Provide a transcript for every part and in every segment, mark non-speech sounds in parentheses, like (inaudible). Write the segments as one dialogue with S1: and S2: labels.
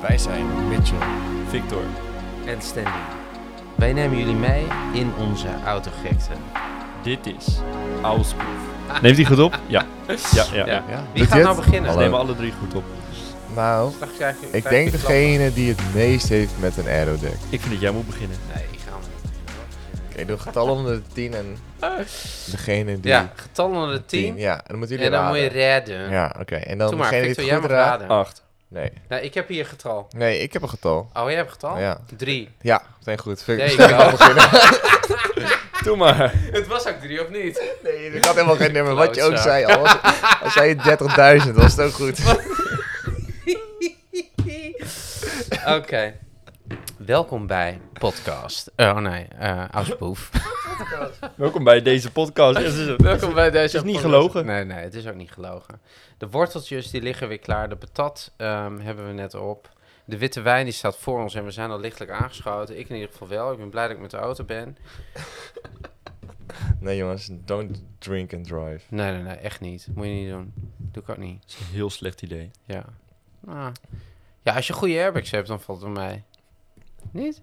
S1: Wij zijn Mitchell.
S2: Victor.
S3: en Stanley. Wij nemen jullie mee in onze autogekte.
S2: Dit is Ausproef.
S4: Neemt hij goed op?
S2: Ja. Ja, ja.
S3: Ja.
S1: Ja.
S3: Wie
S4: Doet
S3: gaat
S4: hij het?
S3: nou beginnen?
S2: Ze
S4: Hallo.
S2: nemen alle drie goed op.
S1: Nou,
S3: Straks krijg je-
S1: ik
S3: krijg je
S1: denk
S3: klappen.
S1: degene die het meest heeft met een aerodeck.
S2: Ik vind dat jij moet beginnen.
S3: Nee, ik ga hem niet.
S1: Ik doe getallen onder de 10 en degene die...
S3: Oh. Ja, getal onder de
S1: 10.
S3: 10.
S1: Ja, en dan moeten jullie
S3: En dan moet je
S1: raden.
S3: raden.
S1: Ja, oké. En dan
S3: Doe maar,
S1: degene die
S3: Victor,
S1: het
S3: jij
S1: goed
S3: mag
S1: raadt... Oh.
S3: raden.
S2: Acht.
S1: Nee.
S3: Nou, ik heb hier getal.
S1: nee, ik heb een getal.
S3: Oh, jij hebt getal?
S1: Ja.
S3: Drie.
S1: Ja, meteen goed. Vind
S3: There
S1: ik
S3: you go.
S2: Doe maar. (laughs)
S3: Het was ook drie, of niet?
S1: Nee, (laughs) ik had
S3: (laughs)
S1: helemaal geen nummer. Wat je ook
S3: Klootzak.
S1: zei al. was- Al zei je 30.000, was het ook goed.
S3: Oké. Welkom bij podcast. Oh nee, eh Auspoef.
S2: Welkom bij deze podcast. Ja, dat is het.
S3: Welkom bij deze.
S2: Het is niet
S3: podcast.
S2: gelogen.
S3: Nee, nee, het is ook niet gelogen. De worteltjes die liggen weer klaar. De patat ehm, hebben we net op. De witte wijn die staat voor ons en we zijn al lichtelijk aangeschoten. Ik in ieder geval wel. Ik ben blij dat ik met de auto ben.
S1: Nee jongens, don't drink and drive.
S3: Nee, nee, nee, echt niet. Moet je niet doen. Doe ik ook niet.
S2: Dat is een heel slecht idee.
S3: Ja. Nou. Ja, als je goede airbags hebt, dan valt het bij mij. Niet?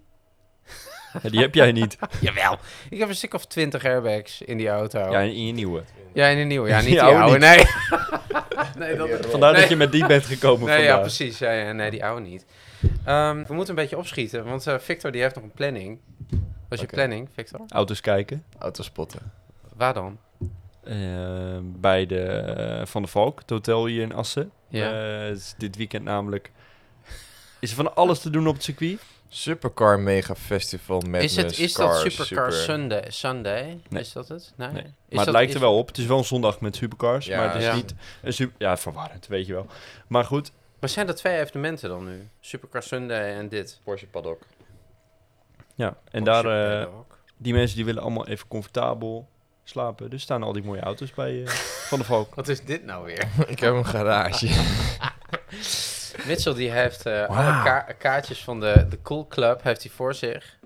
S3: (laughs)
S2: Ja, die heb jij niet.
S3: Jawel. Ik heb een stuk of twintig airbags in die auto.
S2: Ja, in je nieuwe.
S3: Oh. Ja, in de nieuwe.
S2: (laughs)
S3: Ja,
S2: Die
S3: niet die
S2: oude
S3: oude. nee. (laughs) nee, dat
S2: Vandaar
S3: Nee.
S2: dat je met die bent gekomen
S3: Nee, ja,
S2: vandaag.
S3: precies. Ja, ja, nee, die oude niet. Ehm, we moeten een beetje opschieten, want eh, Victor die heeft nog een planning. Wat is je
S1: Oké.
S3: planning, Victor?
S2: Auto's kijken.
S1: Autospotten.
S3: Waar dan?
S2: Eh, bij de eh, Van de Valk, het hotel hier in Assen.
S3: Ja.
S2: Eh, het is dit weekend namelijk. Is er van alles te doen op het circuit?
S1: Supercar Mega Festival met
S3: is het, is dat Supercar
S1: Sun?
S3: Sunday? Sunday?
S2: Nee.
S3: Is dat het? Nee.
S2: Nee.
S3: Is
S2: maar
S3: dat-
S2: het lijkt
S3: is-
S2: er wel op. Het is wel een zondag met supercars.
S1: Ja,
S2: maar het is
S3: ja.
S2: niet een super... Ja, verwarrend, weet je wel. Maar goed,
S3: Maar zijn dat twee evenementen dan nu? Supercar Sunday en dit.
S1: Porsche paddock.
S2: ja. En
S3: Porsche
S2: daar, eh,
S3: Paddock.
S2: die mensen die willen allemaal even comfortabel slapen. Dus staan al die mooie auto's bij eh, Van de Valk.
S3: Wat is dit nou weer?
S1: (laughs) Ik heb een garage.
S3: Mitchell die heeft eh, alle
S1: Wauw.
S3: ka- kaartjes van de, de Cool Club heeft hij voor zich.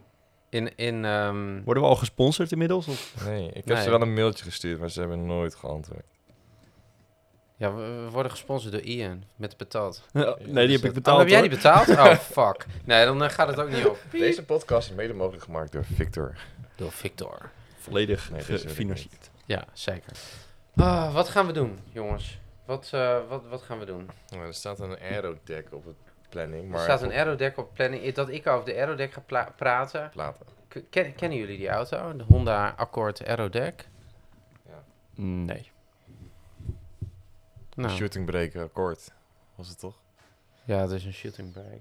S3: In, in, ehm,
S2: Worden we al gesponsord inmiddels? Of?
S1: (laughs) Nee, ik heb
S3: Nee.
S1: ze wel een mailtje gestuurd, maar ze hebben nooit geantwoord.
S3: ja, we, we worden gesponsord door Ian met de patat.
S2: nee, die heb ik
S3: Oh,
S2: betaald.
S3: heb jij die
S2: hoor.
S3: betaald? Oh,
S2: (laughs)
S3: fuck. Nee, dan eh, gaat het ook niet op.
S1: Deze podcast is mede mogelijk gemaakt door Victor.
S3: Door Victor.
S2: Volledig
S1: Nee, deze wil ik
S2: gefinancierd.
S3: Ja, zeker. Ah, wat gaan we doen, jongens? Wat, eh, wat, wat gaan we doen?
S1: Nou, er staat een aerodeck op het planning, maar...
S3: er staat een aerodeck op planning. I- Dat ik over de aerodeck ga pla- praten.
S1: Platen.
S3: K- ken- kennen jullie die auto? De Honda Accord Aerodeck?
S2: Nee.
S3: Nou,
S1: Shooting breken, akkoord. Was het toch?
S3: ja, dat is een shooting brake.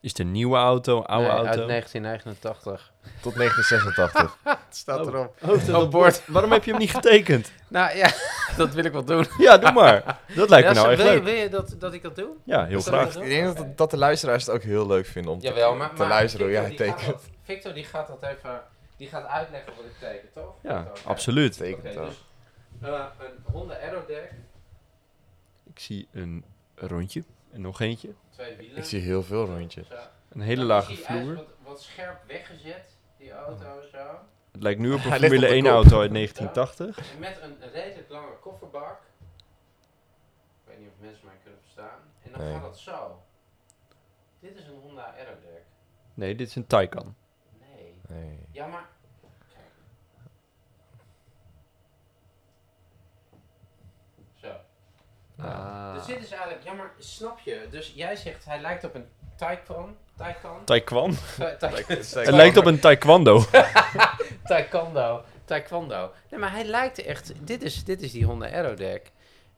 S2: Is het een nieuwe auto, oude
S3: Nee,
S2: auto?
S3: Uit 1989.
S1: Tot 1986. (laughs)
S3: Het staat
S2: Oh.
S3: erop.
S2: Oh, dat-
S3: Op boord.
S2: Waarom heb je hem niet getekend?
S3: Nou ja, (laughs) dat wil ik wel doen.
S2: Ja, doe maar. Dat lijkt me
S3: Ja,
S2: nou
S3: zo-
S2: echt
S3: wil je,
S2: leuk.
S3: wil je dat, dat ik dat doe?
S2: Ja, heel
S3: Is dat-
S2: graag.
S1: Ik denk dat, dat de luisteraars het ook heel leuk vinden om te,
S3: Jawel, maar,
S1: te
S3: maar
S1: luisteren hoe
S3: Victor,
S1: jij
S3: die gaat
S1: (laughs) tekent.
S3: dat- Victor die gaat dat even, die gaat uitleggen wat ik teken, toch?
S2: Ja,
S3: Victor,
S2: absoluut.
S3: Oké,
S1: Tekent dat.
S3: dus eh, een Honda Aerodeck,
S2: Ik zie een rondje en nog eentje.
S3: twee wielen.
S1: Ik zie heel veel rondjes.
S3: Zo.
S2: Een hele
S3: Dan
S2: lage
S3: is die ijs
S2: vloer.
S3: Wat, wat scherp weggezet, die auto zo.
S2: Het lijkt nu op een
S1: Hij ligt op
S2: Formule
S1: de
S2: 1
S1: kop.
S2: auto uit 1980.
S3: En met een redelijk lange kofferbak. Ik weet niet of mensen mij kunnen verstaan. En dan
S1: Nee.
S3: gaat dat zo. Dit is een Honda Aerodeck.
S2: Nee, dit is een Taycan.
S3: Nee.
S1: Nee.
S3: Ja, maar... Zo. Dus dit is eigenlijk, ja maar snap je, dus jij zegt hij lijkt op een Taekwondo, Taekwondo, (laughs)
S2: Taekwan. Het
S1: Het
S2: lijkt op een taekwondo.
S3: Taekwondo, Taekwondo. Nee, maar hij lijkt echt, dit is, dit is die Honda Aerodeck.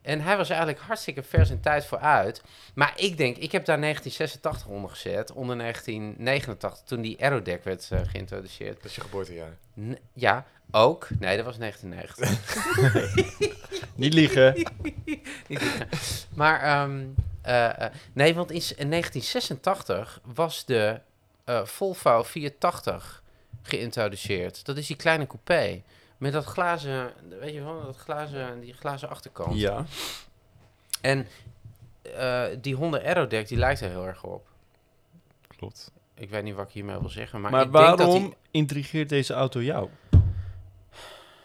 S3: En hij was eigenlijk hartstikke vers in tijd vooruit. Maar ik denk, ik heb daar 1986 onder gezet, onder 1989, toen die Aerodeck werd eh, geïntroduceerd.
S1: Dat is je geboortejaar.
S3: N- ja, ook. Nee, dat was 1990.
S2: (laughs) Niet liegen.
S3: Niet liegen. (laughs) maar ehm, eh, eh, nee, want in s- in 1986 was de eh, Volvo 480 geïntroduceerd. Dat is die kleine coupé met dat glazen, weet je wel, dat glazen, die glazen achterkant.
S2: Ja.
S3: En eh, die Honda Aerodeck die lijkt er heel erg op.
S1: Klopt.
S3: Ik weet niet wat ik hiermee wil zeggen, maar,
S2: Maar
S3: ik denk dat
S2: waarom
S3: die
S2: intrigeert deze auto jou?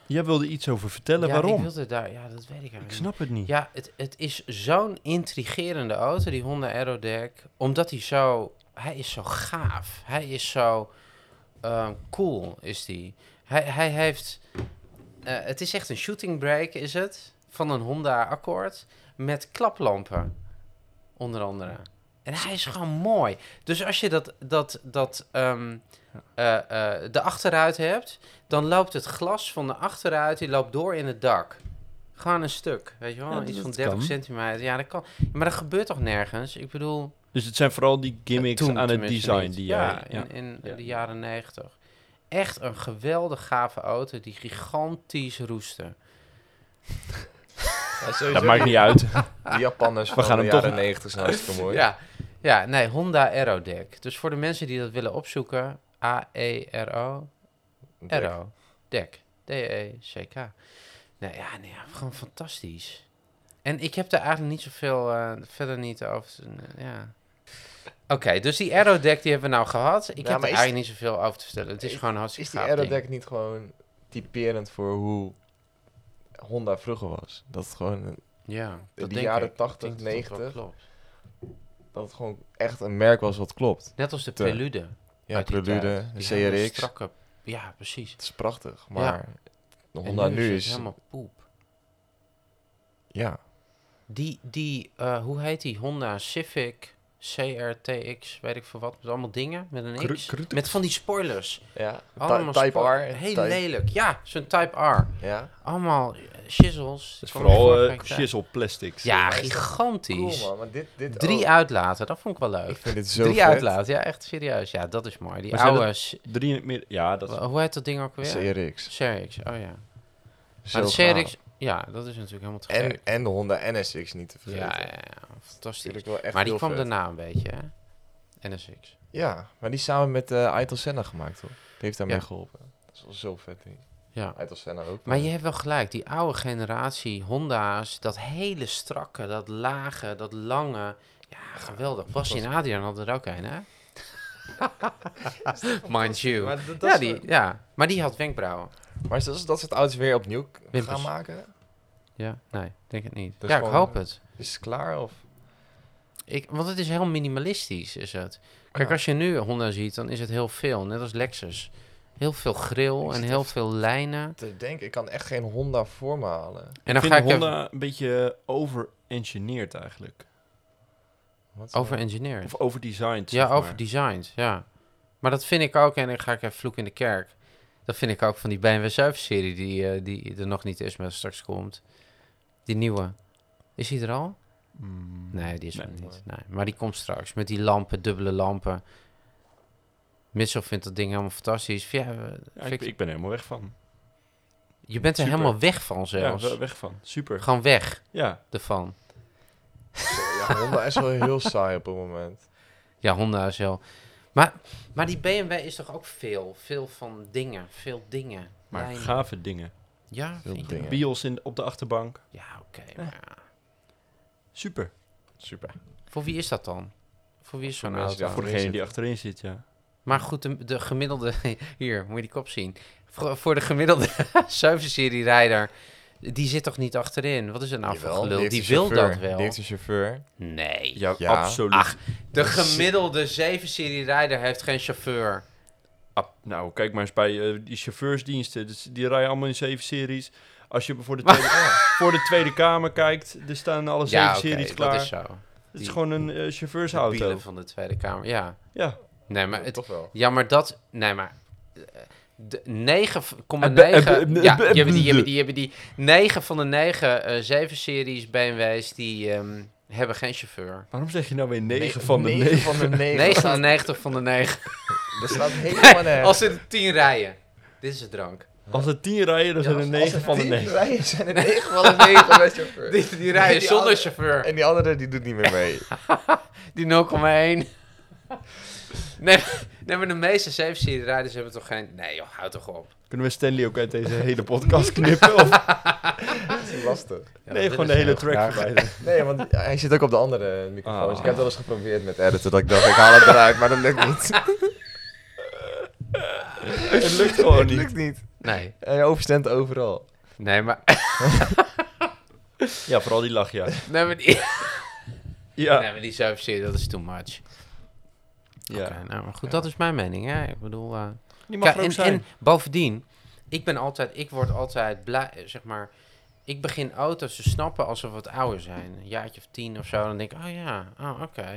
S2: Jij wilde iets over vertellen,
S3: ja,
S2: waarom?
S3: Ik wilde daar, ja, dat weet ik eigenlijk
S2: Ik
S3: niet.
S2: snap het niet.
S3: Ja, het, het is zo'n intrigerende auto, die Honda Aerodeck. Omdat hij zo... Hij is zo gaaf. Hij is zo ehm, cool, is die. Hij, hij heeft... eh, het is echt een shooting brake, is het? Van een Honda Accord. Met klaplampen. Onder andere. En hij is gewoon mooi. Dus als je dat, dat, dat, ehm, eh, eh, de achteruit hebt... dan loopt het glas van de achteruit... die loopt door in het dak. Gewoon een stuk, weet je wel?
S2: Ja,
S3: Iets
S2: dat
S3: van 30
S2: kan.
S3: centimeter. Ja, dat kan. Maar dat gebeurt toch nergens? Ik bedoel... eh,
S2: Dus het zijn vooral die gimmicks
S3: Toen
S2: aan het
S3: tenminste
S2: design
S3: niet.
S2: die
S3: ja,
S2: jij... Ja.
S3: in, in
S2: Ja.
S3: de jaren 90. Echt een geweldig gave auto die gigantisch roestte.
S1: Ja, sowieso.
S2: Dat maakt niet uit.
S1: Die Japanners
S2: We
S1: van
S2: gaan
S1: de
S2: hem toch-
S1: jaren 90 zijn (laughs) hartstikke mooi.
S3: Ja, ja, nee, Honda Aerodeck. Dus voor de mensen die dat willen opzoeken, E A-E-R-O,
S1: Dek.
S3: Aero, Deck, D-E-C-K. E Nou ja, nee, ja, gewoon fantastisch. En ik heb daar eigenlijk niet zoveel eh, verder niet over. te- ja. Oké, dus die Aerodeck die hebben we nou gehad. Ik heb
S1: maar
S3: er
S1: is-
S3: eigenlijk niet zoveel over te vertellen. Het is,
S1: is-
S3: gewoon een hartstikke
S1: Is die
S3: gaaf ding.
S1: Aerodeck niet gewoon typerend voor hoe Honda vroeger was? Dat het gewoon, een-
S3: Ja,
S1: die
S3: denk
S1: jaren
S3: ik.
S1: 80,
S3: Ik denk dat dat wel
S1: 90.
S3: klopt.
S1: dat het gewoon echt een merk was wat klopt.
S3: Net als de
S1: Te-
S3: Prelude.
S1: Ja,
S3: uit die tijd.
S1: Prelude, de
S3: Die hele
S1: CRX.
S3: strakke- ja, precies.
S1: Het is prachtig, maar de
S3: En
S1: Honda nu is...
S3: helemaal poep.
S1: Ja,
S3: Die, die eh, hoe heet die? Honda Civic CRTX, weet ik veel wat. Met allemaal dingen, met een
S2: Kru-
S3: X.
S2: krutux.
S3: Met van die spoilers.
S1: ja.
S3: Allemaal
S1: Ty- type
S3: spo-
S1: R.
S3: Heel
S1: type-
S3: lelijk. Ja, zo'n Type R.
S1: Ja,
S3: Allemaal eh, shizzles.
S2: Dus
S3: Kwam ik vorige
S2: vooral
S3: week
S2: eh
S3: tegen.
S2: shizzle plastics.
S3: Ja,
S2: eh,
S1: cool
S3: gigantisch.
S1: man. Maar dit, dit
S3: Drie
S1: ook.
S3: uitlaten, dat vond ik wel leuk.
S1: Ik vind dit zo
S3: Drie
S1: vet.
S3: uitlaten, ja, echt serieus. Ja, dat is mooi. Die
S2: Maar zijn
S3: oude... s-
S2: Drie in het midden. Ja, dat is...
S3: Wa- Hoe heet dat ding ook weer?
S1: CRX.
S3: CRX, oh ja.
S1: Zo
S3: Maar de
S1: gaaf.
S3: CRX, ja, dat is natuurlijk helemaal te
S1: En,
S3: gek.
S1: en de Honda NSX niet te
S3: Ja,
S1: vergeten.
S3: ja, ja, fantastisch.
S1: Natuurlijk wel echt
S3: Maar die
S1: heel
S3: kwam
S1: vet.
S3: daarna een beetje, hè? NSX.
S1: Ja, maar die samen met eh Aitel Senna gemaakt hoor. Die heeft daarmee
S3: Ja.
S1: geholpen. Dat is wel zo vet. die.
S3: Ja.
S1: Aitel Senna ook.
S3: Maar je hebt wel gelijk, die oude generatie Honda's, dat hele strakke, dat lage, dat lange. Ja, geweldig. Basje en Adriaan hadden er ook een, hè? Mind you.
S2: Maar dat,
S3: Ja, die, ja, maar die had wenkbrauwen.
S1: Maar is dat, dat ze het auto's weer opnieuw k-
S3: Wimpers.
S1: gaan maken?
S3: Ja, nee, denk het niet.
S1: Dat is
S3: ja, ik
S1: gewoon-
S3: hoop het.
S1: Is het klaar of?
S3: Ik, want het is heel minimalistisch, is het. Kijk,
S1: Ja.
S3: als je nu Honda ziet, dan is het heel veel. Net als Lexus. Heel veel grill
S1: Ik
S3: en
S1: zit
S3: heel
S1: even-
S3: veel lijnen.
S1: Te denken, ik kan echt geen Honda voor me halen.
S3: En
S2: ik
S3: dan
S2: vind
S3: ga ik
S2: Honda
S3: even
S2: een beetje over-engineered eigenlijk.
S1: Wat
S3: over engineer.
S2: Of over-designed,
S3: Ja,
S2: zeg
S3: over
S2: maar.
S3: designs, ja. Maar dat vind ik ook, en dan ga ik even vloek in de kerk. Dat vind ik ook van die BMW 7-serie die, eh, die er nog niet is, maar straks komt. Die nieuwe. Is die er al?
S2: Mm.
S3: Nee, die is
S2: Nee.
S3: er niet. Nee. Maar die komt straks met die lampen, dubbele lampen. Missel vindt dat ding helemaal fantastisch. Ja, eh,
S2: Ja,
S3: vind
S2: ik,
S3: ik-
S2: ik ben er helemaal weg van.
S3: Je bent er
S2: Super.
S3: helemaal weg van
S2: Ja,
S3: zelfs.
S2: we- weg van. Super.
S3: Gewoon weg
S2: Ja.
S3: ervan.
S1: Ja, Honda is wel heel saai op het moment.
S3: Ja, Honda is wel... Maar, maar die BMW is toch ook veel? Veel van dingen. Veel dingen.
S2: Maar
S3: Lijnen.
S2: gave dingen.
S3: Ja,
S1: Veel
S3: vind ik-
S1: dingen. Ja.
S2: Bios in, op de achterbank.
S3: Ja, oké.
S2: Ja.
S3: maar ja.
S2: Super.
S1: Super.
S3: Voor wie is dat dan? Voor wie is zo'n
S1: Voor mensen die
S3: auto?
S2: Voor
S1: erin
S2: degene die
S1: zitten.
S2: achterin zit, ja.
S3: Maar goed, de, de gemiddelde... (laughs) Hier, moet je die kop zien. Voor, voor de gemiddelde (laughs) 7-serie rijder... Die zit toch niet achterin? Wat is er nou
S1: Jawel,
S3: voor gelul?
S1: heeft
S3: Die
S1: een
S3: wil
S1: chauffeur.
S3: dat wel.
S1: Die heeft een chauffeur.
S3: Nee.
S1: Ja.
S2: absoluut.
S3: Ach, de
S1: Dat is-
S3: gemiddelde 7-serie rijder heeft geen chauffeur.
S2: Ah, nou, kijk maar eens bij eh, die chauffeursdiensten. Dus die rijden allemaal in zeven series. Als je voor de,
S3: Maar-
S2: tweede, voor de Tweede Kamer kijkt, er staan alle zeven
S3: Ja, oké,
S2: series klaar.
S3: dat is zo.
S2: Het is
S3: Die-
S2: gewoon een eh,
S3: De
S2: chauffeursauto.
S3: wielen van de Tweede Kamer, ja.
S2: Ja.
S3: Nee, maar het,
S1: Toch wel.
S3: ja, maar dat... Nee, maar... eh, de 9,9...
S2: Eh, eh, eh,
S3: Ja,
S2: eh,
S3: je hebt die, je
S2: eh,
S3: hebt die, je hebt die. 9 van de 9 eh 7-series BMW's, die ehm, hebben geen chauffeur.
S2: Waarom zeg je nou weer negen
S1: Ne-
S2: van de
S1: negen
S2: negen?
S1: van de negen.
S3: 99 van de 9.
S1: Dat
S3: (laughs)
S1: staat helemaal nergens.
S3: Als er 10 rijden. Dit is de drank.
S2: Als er tien rijden, dan
S1: Ja,
S2: zijn er
S1: als- als
S2: negen
S1: er
S2: van de
S1: tien (laughs)
S2: negen.
S1: rijden zijn er negen van de negen met chauffeur.
S3: (laughs) Die, die rijden
S1: Die
S3: zonder
S1: andere-
S3: chauffeur.
S1: En die andere die doet niet meer mee.
S3: Die 0,1. (laughs) Nee, nee, maar de meeste 7-serie rijders hebben toch geen... Nee joh, houd toch op.
S2: Kunnen we Stanley ook uit deze hele podcast knippen? Of
S1: Dat is lastig.
S3: Ja,
S2: nee,
S3: dit
S2: gewoon
S3: is
S2: de hele
S3: heel-
S2: track
S1: graag.
S2: voorbij.
S1: Nee, want hij zit ook op de andere microfoon. Dus ik
S2: Ah.
S1: heb het wel eens geprobeerd met editen. Dat ik dacht, ik haal (laughs) het eruit, maar dat lukt niet.
S2: Het lukt gewoon
S1: Het
S2: niet.
S1: (laughs) lukt niet.
S3: Nee,
S1: En je overstemt overal.
S3: nee, maar... (laughs)
S2: Ja, vooral die lach, ja.
S3: Nee, maar die,
S2: Ja.
S3: nee, maar die zuipserie, dat is too much.
S2: ja.
S3: Oké, nou, maar goed, dat is mijn mening, hè. Ik bedoel... eh,
S2: Die mag
S3: Ka-
S2: er ook
S3: en,
S2: zijn.
S3: en bovendien, ik ben altijd, ik word altijd blij, eh, zeg maar. Ik begin auto's te snappen als ze wat ouder zijn. Een jaartje of tien of zo. Dan denk ik, oh ja, oh, oké.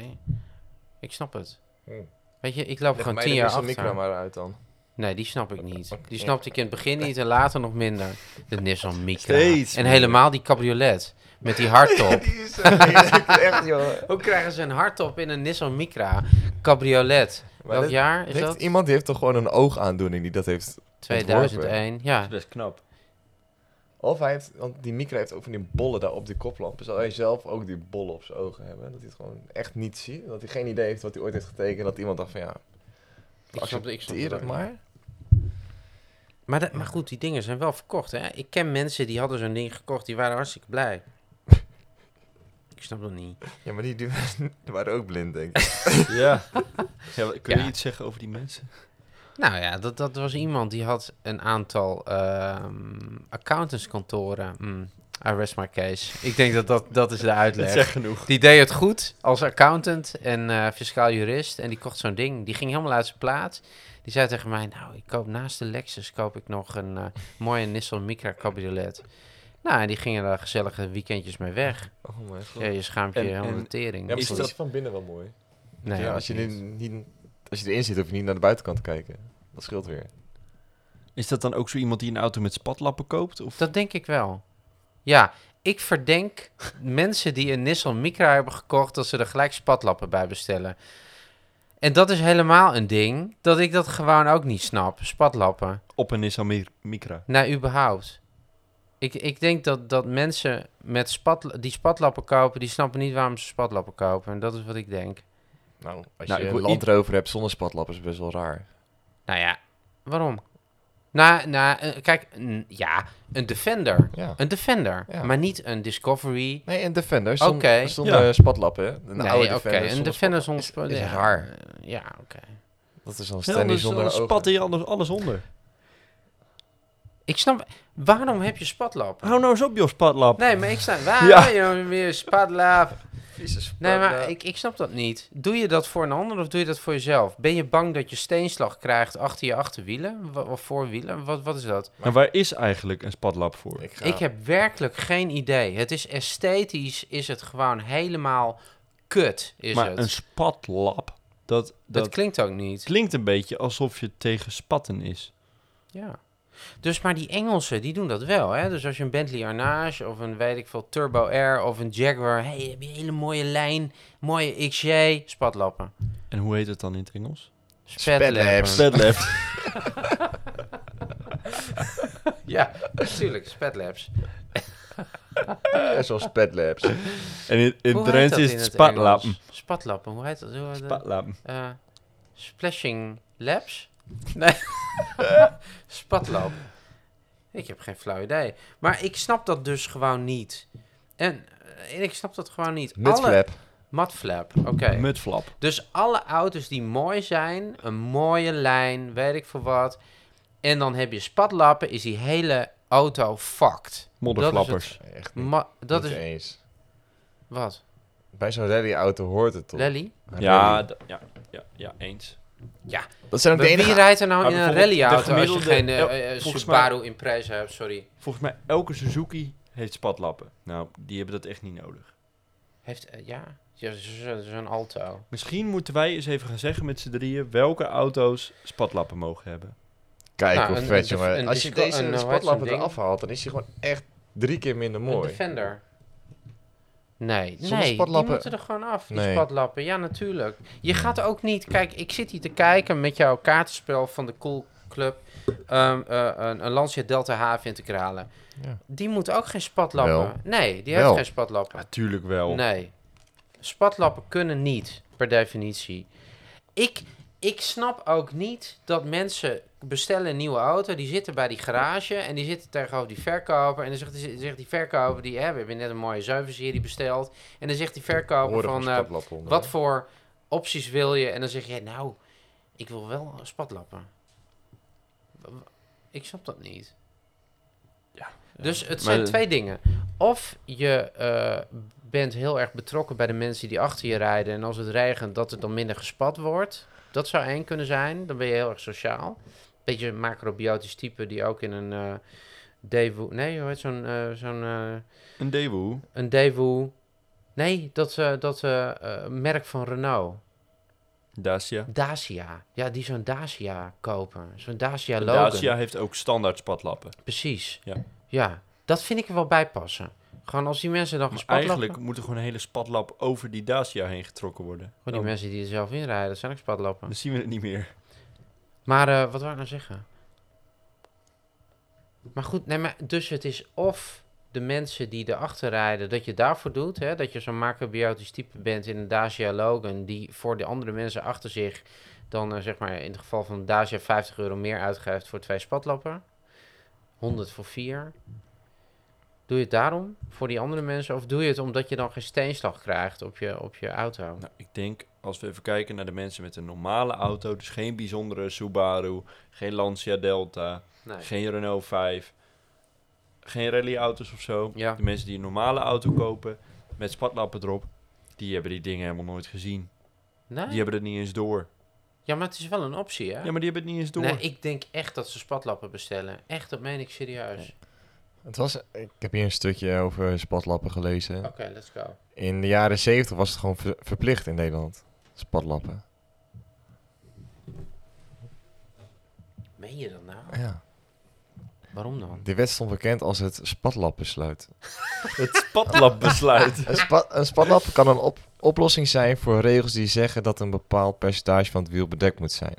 S3: Ik snap het.
S1: Hmm.
S3: Weet je, ik loop
S1: Leg
S3: gewoon
S1: mij
S3: tien
S1: de
S3: jaar
S1: Nissan
S3: achter.
S1: micro maar uit dan.
S3: Nee, die snap ik niet. Die
S1: Oké.
S3: snapte ik in het begin niet en later nog minder. De Nissan Micra.
S2: Steeds
S3: en
S2: meer.
S3: helemaal die cabriolet met die hardtop.
S1: Die (laughs) is zo lelijk, echt joh.
S3: Hoe krijgen ze een hardtop in een Nissan Micra? Cabriolet.
S1: Maar
S3: Welk
S1: dat-
S3: jaar is
S1: heeft
S3: dat?
S1: Iemand die heeft toch gewoon een oogaandoening die dat heeft.
S3: 2001. Ja,
S2: Dat is best knap.
S1: Of hij heeft, want die micro heeft ook van die bollen daar op die koplampen. Zal hij zelf ook die bollen op zijn ogen hebben? Dat hij het gewoon echt niet ziet. Dat hij geen idee heeft wat hij ooit heeft getekend. Dat iemand dacht van ja,
S3: ik snap, ik snap
S1: accepteer
S3: het
S1: het
S3: ook
S1: maar.
S3: Maar, dat- maar goed, die dingen zijn wel verkocht. Hè? Ik ken mensen die hadden zo'n ding gekocht, die waren hartstikke blij. ik snap dat niet.
S1: Ja, maar die, (laughs) die waren ook blind, denk ik.
S2: Ja. (laughs) ja maar kun je
S3: Ja.
S2: iets zeggen over die mensen?
S3: Nou ja, dat, dat was iemand die had een aantal ehm, accountantskantoren. Mm, I rest my case. Ik denk dat dat, dat is
S2: (laughs)
S3: de
S2: Dat
S3: uitleg.
S2: zegt genoeg.
S3: Die deed het goed als accountant en eh, fiscaal jurist. En die kocht zo'n ding. Die ging helemaal uit zijn plaats. Die zei tegen mij, nou, ik koop naast de Lexus koop ik nog een eh, mooie Nissan Micra cabriolet. Nou, en die gingen daar gezellige weekendjes mee weg.
S1: Oh mijn god.
S3: Ja, je schaamt je
S2: En-
S3: helemaal
S2: en-
S3: de tering.
S1: Ja, maar
S2: Is
S1: soms
S2: dat-
S1: van binnen wel mooi.
S3: nee,
S1: ja,
S3: ook
S1: als, je
S3: niet.
S1: niet, niet- als je erin zit, hoef je niet naar de buitenkant te kijken. Dat scheelt weer.
S2: Is dat dan ook zo iemand die een auto met spatlappen koopt? Of?
S3: Dat denk ik wel. Ja, ik verdenk mensen die een Nissan Micra hebben gekocht... dat ze er gelijk spatlappen bij bestellen. En dat is helemaal een ding dat ik dat gewoon ook niet snap. Spatlappen.
S2: Op een Nissan Mi- Micra.
S3: Nou, überhaupt. Ik, ik denk dat, dat mensen met spatla- die spatlappen kopen, die snappen niet waarom ze spatlappen kopen. En dat is wat ik denk.
S1: Nou, als
S2: Nou,
S1: je
S2: ik
S1: een
S2: wil
S1: Land Rover hebt zonder spatlap is best wel raar.
S3: Nou ja, waarom? Nou, nou eh, kijk, een- ja, een Defender.
S1: Ja.
S3: Een Defender,
S1: Ja.
S3: maar niet een Discovery.
S1: Nee, een Defender zonder,
S3: Oké.
S1: zonder
S2: Ja.
S1: spatlap, hè? Een
S3: nee,
S1: oude
S3: oké,
S1: Defender
S3: een
S1: zonder spatlap.
S3: Defender zonder spatlappen.
S1: is
S3: ja. Eh,
S1: raar.
S3: Ja, oké.
S1: Dat is dan Stanley
S2: Ja,
S3: dus
S2: anders,
S1: zonder
S2: anders
S1: ogen.
S2: spat hier anders alles onder.
S3: Ik snap, waarom heb je spatlappen?
S1: Oh,
S2: Hou nou eens op, joh, spatlap.
S3: Nee, maar ik
S1: (laughs)
S3: snap, waarom
S2: Ja.
S3: heb je weer spatlap?
S1: Jezus,
S3: Nee, maar
S1: eh,
S3: ik, ik snap dat niet. Doe je dat voor een ander of doe je dat voor jezelf? Ben je bang dat je steenslag krijgt achter je achterwielen? Wa- Of voorwielen? Wat, wat is dat?
S2: En waar is eigenlijk een spatlap voor?
S1: ik ga-
S3: Ik
S1: (laughs)
S3: heb werkelijk geen idee. Het is esthetisch, is het gewoon helemaal kut, is
S2: maar
S3: het.
S2: een spatlap, dat,
S3: dat...
S2: dat
S3: klinkt ook niet.
S2: klinkt een beetje alsof je tegen spatten is.
S3: Ja. Dus, maar die Engelsen, die doen dat wel, hè? Dus als je een Bentley Arnage of een, weet ik veel, Turbo R of een Jaguar... hey, heb je een hele mooie lijn, mooie XJ, spatlappen.
S2: En hoe heet het dan in het Engels? (laughs)
S3: Spatlappen.
S1: Spatlaps.
S2: Spatlap.
S3: Ja, (laughs) natuurlijk, spatlabs.
S1: eh, zoals Petlabs.
S2: en in, in
S3: Hoe
S2: het
S3: heet
S2: Drents
S3: dat
S2: is
S3: in
S2: het
S3: het
S2: spatlappen.
S3: Engels? Spatlappen, hoe heet dat? Hoe heet dat?
S2: Spatlappen.
S3: Eh, splashing laps? (laughs) Nee. Spatlap. Ik heb geen flauw idee. Maar ik snap dat dus gewoon niet. En eh, ik snap dat gewoon niet. Alle...
S1: Mudflap.
S3: Matflap, oké.
S2: Mutflap.
S3: Dus alle auto's die mooi zijn, een mooie lijn, weet ik veel wat. En dan heb je spatlappen, is die hele auto fucked.
S2: Modderflappers.
S1: Echt niet,
S3: Ma- dat
S1: niet
S3: is...
S1: eens.
S3: Wat?
S1: Bij zo'n rally-auto hoort het toch?
S3: Lally?
S1: Een
S2: Ja,
S1: rally.
S2: d- ja, ja, ja, eens.
S1: dat zijn ook
S3: Maar
S1: de enige...
S3: Wie rijdt er nou
S2: Maar
S3: in een
S2: bijvoorbeeld de
S3: rallyauto als je
S2: gemiddelde-
S3: geen eh,
S2: el-
S3: eh,
S2: volgens
S3: Subaru Impreza hebt? Sorry.
S2: Volgens mij elke Suzuki heeft spatlappen. Nou, die hebben dat echt niet nodig.
S3: Heeft, eh, ja, ja zo- zo- zo'n Alto.
S2: Misschien moeten wij eens even gaan zeggen met z'n drieën welke auto's spatlappen mogen hebben.
S1: Kijk,
S3: Nou,
S1: hoe
S3: een-
S1: vet,
S3: een-
S1: jongen.
S3: een
S1: Als je
S3: disco- een,
S1: deze
S3: eh, hoe heet
S1: spatlappen
S3: zo'n ding?
S1: eraf haalt, dan is hij gewoon echt drie keer minder
S3: Een
S1: mooi.
S3: Defender. Nee,
S1: Zonder
S3: nee, die
S1: spatlappen.
S3: moeten er gewoon af, die
S1: Nee.
S3: spatlappen. Ja, natuurlijk. Je gaat ook niet... Kijk, ik zit hier te kijken met jouw kaartenspel van de Cool Club... ehm, eh, een, een Lancia Delta Haven in te kralen.
S1: Ja.
S3: Die moet ook geen spatlappen.
S1: Wel.
S3: Nee, die
S1: Wel.
S3: heeft geen spatlappen.
S2: Natuurlijk wel.
S3: Nee. Spatlappen kunnen niet, per definitie. Ik, ik snap ook niet dat mensen bestellen een nieuwe auto. Die zitten bij die garage en die zitten tegenover die verkoper. En dan zegt, die- zegt die verkoper, die, hè, we hebben net een mooie zuiverserie besteld. En dan zegt die verkoper
S1: Horen
S3: van, eh,
S1: spatlappen onder,
S3: wat
S1: hè?
S3: voor opties wil je? En dan zeg je, nou, ik wil wel spatlappen. Ik snap dat niet.
S2: Ja.
S3: Dus het
S2: Eh, Maar
S3: zijn
S2: de-
S3: twee dingen. Of je eh, bent heel erg betrokken bij de mensen die achter je rijden. En als het regent, dat het dan minder gespat wordt. Dat zou één kunnen zijn. Dan ben je heel erg sociaal. Beetje een macrobiotisch type die ook in een eh Daewoo... Nee, hoe heet zo'n... eh, zo'n eh,
S2: Een Daewoo.
S3: een Daewoo... Nee, dat, eh, dat eh, eh, merk van Renault.
S2: Dacia.
S3: Dacia. Ja, die zo'n Dacia kopen. Zo'n Dacia
S2: En
S3: Logan.
S2: Dacia heeft ook standaard spatlappen.
S3: Precies.
S2: Ja.
S3: Ja, dat vind ik er wel bij passen. Gewoon als die mensen dan
S2: Maar
S3: gespat
S2: Dus eigenlijk moet er gewoon een hele spatlap over die Dacia heen getrokken worden.
S3: Gewoon die
S2: Dan,
S3: mensen die er zelf in rijden, dat zijn ook spatlappen.
S2: dan zien we het niet meer.
S3: Maar eh, wat wou ik nou zeggen? Maar goed, nee, maar dus het is of de mensen die erachter rijden, dat je daarvoor doet. Hè? Dat je zo'n macrobiotisch type bent in een Dacia Logan, die voor de andere mensen achter zich dan eh, zeg maar in het geval van Dacia 50 euro meer uitgeeft voor twee spatlappen. 100 voor vier. Doe je het daarom voor die andere mensen? Of doe je het omdat je dan geen steenslag krijgt op je, op je auto?
S2: Nou, ik denk, als we even kijken naar de mensen met een normale auto, dus geen bijzondere Subaru, geen Lancia Delta,
S3: Nee.
S2: geen Renault 5, geen rallyauto's of zo.
S3: Ja.
S2: De mensen die een normale auto kopen met spatlappen erop, die hebben die dingen helemaal nooit gezien. Die
S3: nee?
S2: hebben het niet eens door.
S3: Ja, maar het is wel een optie, hè?
S2: Ja, maar die hebben het niet eens door.
S3: Nee, ik denk echt dat ze spatlappen bestellen. Echt, dat meen ik serieus.
S1: Het was, ik heb hier een stukje over spatlappen gelezen.
S3: Oké, let's go.
S1: In de jaren 70 was het gewoon ver- verplicht in Nederland. Spatlappen.
S3: Meen je dat nou?
S1: Ja.
S3: Waarom dan?
S1: Die wet stond bekend als het spatlapbesluit.
S2: Het spatlapbesluit.
S1: Een, spa- een spatlap kan een op- oplossing zijn voor regels die zeggen dat een bepaald percentage van het wiel bedekt moet zijn.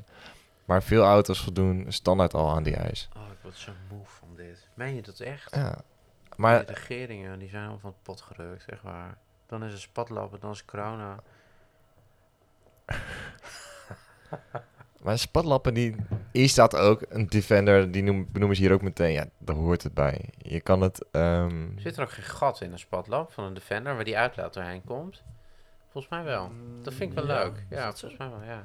S1: Maar veel auto's voldoen standaard al aan die eis.
S3: Oh, ik word zo moe van dit. Meen je dat echt?
S1: Ja.
S3: De
S1: Maar
S3: regeringen, die zijn allemaal van het pot gerukt, echt waar. Dan is het spatlappen, dan is corona.
S1: Maar spatlappen, die, hier staat ook een Defender, die noem, benoemen ze hier ook meteen. Ja, daar hoort het bij. Je kan het... ehm,
S3: Zit er ook geen gat in een spatlap van een Defender waar die uitlaat doorheen komt? Volgens mij wel. Dat vind ik wel leuk. Ja, volgens mij wel, ja.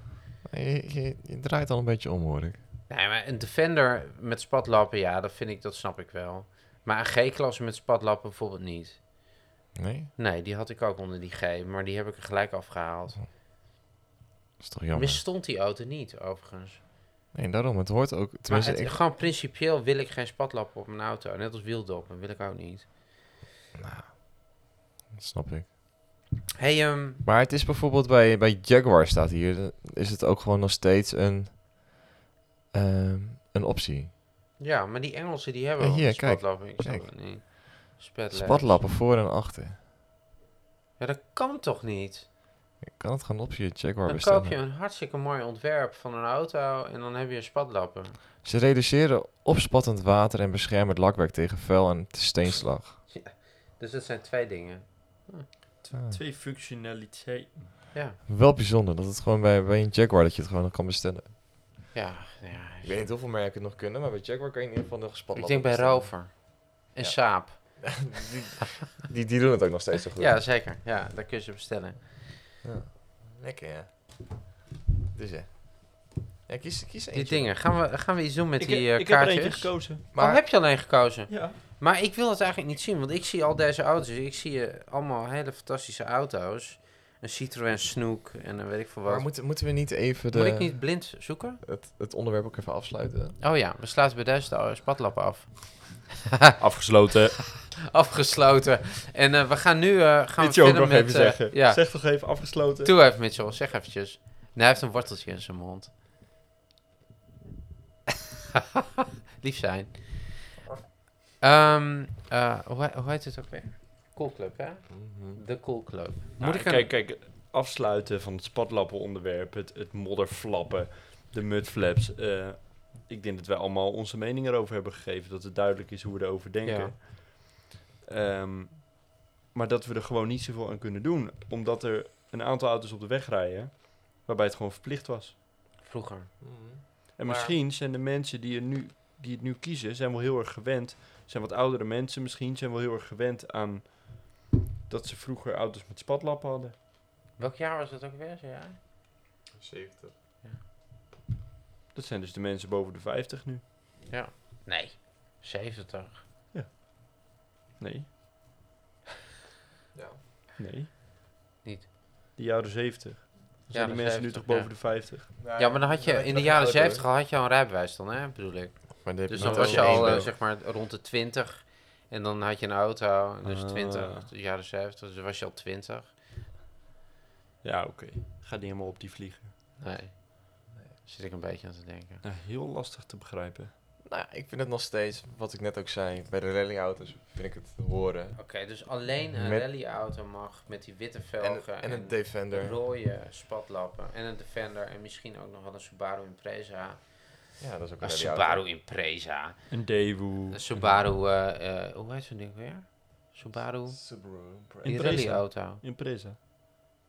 S1: je, je- je draait al een beetje om, hoor ik.
S3: Nee, maar een Defender met spatlappen, ja, dat vind ik, dat snap ik wel. Maar een G-klasse met spatlappen bijvoorbeeld niet.
S1: Nee?
S3: Nee, die had ik ook onder die G, maar die heb ik er gelijk afgehaald.
S1: Dat is toch jammer?
S3: Misstond die auto niet, overigens.
S1: Nee, daarom. Het hoort ook...
S3: Maar
S1: Tenminste,
S3: het,
S1: ik-
S3: gewoon principieel wil ik geen spatlappen op mijn auto. Net als wieldoppen wil ik ook niet.
S1: dat snap ik.
S3: Hey, ehm,
S1: Maar het is bijvoorbeeld bij, bij Jaguar staat hier, dan is het ook gewoon nog steeds een, ehm, een optie.
S3: ja, maar die Engelsen die hebben
S1: Ja,
S3: wel
S1: hier, kijk.
S3: spatlappen. Ik snap
S1: Kijk.
S3: het niet. Spatlaps.
S1: Spatlappen voor en achter.
S3: Ja, dat kan toch niet?
S1: Je kan het gewoon op je Jaguar
S3: Dan koop je
S1: bestellen.
S3: een hartstikke mooi ontwerp van een auto en dan heb je een spatlappen.
S1: Ze reduceren opspattend water en beschermen het lakwerk tegen vuil en steenslag.
S3: Dus dat zijn twee dingen.
S1: Ah.
S2: Twee functionaliteiten.
S3: Ja,
S1: Wel bijzonder dat het gewoon bij, bij een Jaguar dat je het gewoon nog kan bestellen.
S3: ja, ja.
S1: Ik weet niet hoeveel merken het nog kunnen, maar bij Jaguar kan je in ieder geval nog
S3: Ik
S1: spatlappen
S3: denk bij Rover en
S1: Ja.
S3: Saab.
S1: (laughs) Die, die doen het ook nog steeds zo goed.
S3: Ja, zeker. Ja, daar kun je ze bestellen.
S1: lekker ja. Dus ja. Ja, kies, kies
S3: Die dingen. Gaan we, gaan we iets doen met die eh,
S2: ik heb er eentje
S3: kaartjes?
S2: gekozen.
S3: Maar... heb je alleen gekozen?
S2: Ja.
S3: Maar ik wil het eigenlijk niet zien, want ik zie al deze auto's. Ik zie eh, allemaal hele fantastische auto's. Een Citroën Snoek en een weet ik veel wat.
S1: Maar
S3: Moet,
S1: moeten, moeten we niet even de,
S3: ik niet blind zoeken?
S1: Het, het onderwerp ook even afsluiten?
S3: Oh ja, we sluiten bij deze de spatlappen af. (laughs)
S2: Afgesloten.
S3: Afgesloten. En eh, we gaan nu... eh, gaan
S2: Dit
S3: we
S2: je ook
S3: verder
S2: nog
S3: met,
S2: even
S3: eh,
S2: zeggen.
S3: Ja.
S2: Zeg toch even afgesloten.
S3: Doe even, Mitchell. Zeg eventjes. Nee, hij heeft een worteltje in zijn mond. (laughs) Lief zijn. Ehm, eh, hoe, he- hoe heet het ook weer? Cool Club, hè? De Cool Club.
S2: Nou,
S3: Moet ik
S2: kijk,
S3: een...
S2: kijk, afsluiten van het spatlappen onderwerp, het, het modderflappen, de mudflaps. eh, ik denk dat wij allemaal onze mening erover hebben gegeven, dat het duidelijk is hoe we erover denken. Ehm, maar dat we er gewoon niet zoveel aan kunnen doen, omdat er een aantal auto's op de weg rijden waarbij het gewoon verplicht was.
S3: Vroeger.
S2: En
S3: Maar-
S2: misschien zijn de mensen die, er nu, die het nu kiezen, zijn wel heel erg gewend. Zijn wat oudere mensen misschien, zijn wel heel erg gewend aan dat ze vroeger auto's met spatlappen hadden.
S3: Welk jaar was dat ook weer? Zo'n jaar?
S1: 70.
S2: Dat zijn dus de mensen boven de 50 nu.
S3: Nee, 70.
S2: Nee,
S1: Ja.
S2: nee.
S3: Niet.
S2: De jaren 70. Dan zijn die
S3: Jaren
S2: mensen nu
S3: 70,
S2: toch boven
S3: ja.
S2: de 50.
S3: Ja, maar dan had je in de jaren 70 al had je al een rijbewijs dan, hè, bedoel ik. Dus dan was je al eh, zeg maar rond de 20 en dan had je een auto, en dus
S2: Ah.
S3: 20, de jaren 70, dus dan was je al 20.
S2: Ja, oké. Ga niet helemaal op die vlieger.
S3: Nee. Zit ik een beetje aan te denken.
S2: Nou, heel lastig te begrijpen.
S1: Nou, ik vind het nog steeds, wat ik net ook zei, bij de rallyauto's vind ik het horen.
S3: Oké, dus alleen een
S1: Met-
S3: rallyauto mag met die witte
S1: En,
S3: velgen
S1: en een
S3: de
S1: Defender.
S3: rode spatlappen en een Defender en misschien ook nog wel een Subaru Impreza.
S1: Ja, dat is ook een
S3: Een
S1: rallyauto.
S3: Subaru Impreza.
S2: Een Daewoo.
S3: Een Subaru, eh, eh, hoe heet zo'n ding weer? Subaru,
S1: Subaru. Impreza.
S3: die
S2: Impreza.
S3: rallyauto.
S2: Impreza.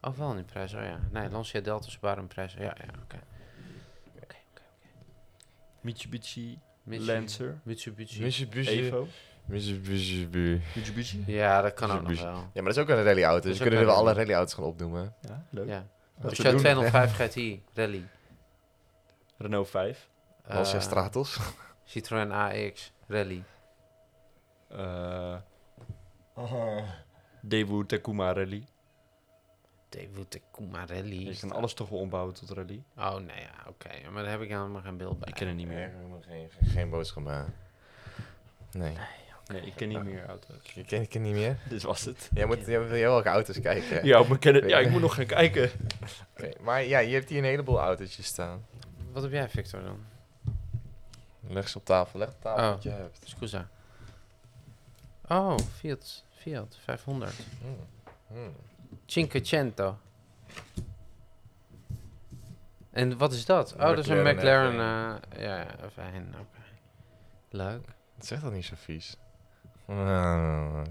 S3: Oh, wel een Impreza, oh ja. Nee, Lancia Delta Subaru Impreza. Ja, ja, oké. Oké, oké, oké.
S2: Mitsubishi.
S3: Mitsubishi-
S2: Lancer.
S3: Mitsubishi.
S1: Mitsubishi.
S2: Evo.
S1: Mitsubishi.
S2: Mitsubishi.
S3: Ja, dat kan ook nog
S1: Mitsubishi.
S3: wel.
S1: Ja, maar dat is ook een rallyauto,
S3: Dat
S1: dus
S3: is
S1: we
S3: ook
S1: kunnen
S3: een
S1: wel alle
S3: rally.
S1: rallyauto's gaan opnoemen.
S2: Ja, leuk.
S3: Ja.
S1: Wat
S3: Peugeot
S1: we doen.
S3: 205 GTI Rally.
S2: Renault 5.
S1: Lancia
S3: Eh,
S1: Stratos.
S3: Citroën AX Rally.
S2: Eh Daewoo Takuma Rally.
S3: Daewoo Takuma Rally.
S2: Je kan alles toch wel ombouwen tot rally.
S3: Oh, nee, ja, oké. Maar daar heb ik helemaal geen beeld bij.
S2: Ik ken het niet
S1: Nee,
S2: meer.
S1: ik heb nog geen, geen- geen boodschap aan. Nee,
S2: Nee, ik ken niet meer auto's.
S1: ik ken, ik ken niet meer.
S2: Dit was het.
S1: Jij moet, jij wil heel welke auto's kijken.
S2: Ja, maar ken het- ja, ik moet nog gaan kijken.
S1: Oké, Maar ja, je hebt hier een heleboel autootjes staan.
S3: Wat heb jij, Victor, dan?
S1: Leg ze op tafel, leg op tafel
S2: Ah.
S3: Oh.
S1: wat je hebt.
S3: Scusa. Oh, Fiat. Fiat 500.
S1: Hmm. Hmm.
S3: Cinquecento. En wat is dat? Oh, dat is een
S1: McLaren
S3: McLaren. eh, ja, fijn. Oké. Leuk.
S1: Zeg dat niet zo vies. Ah,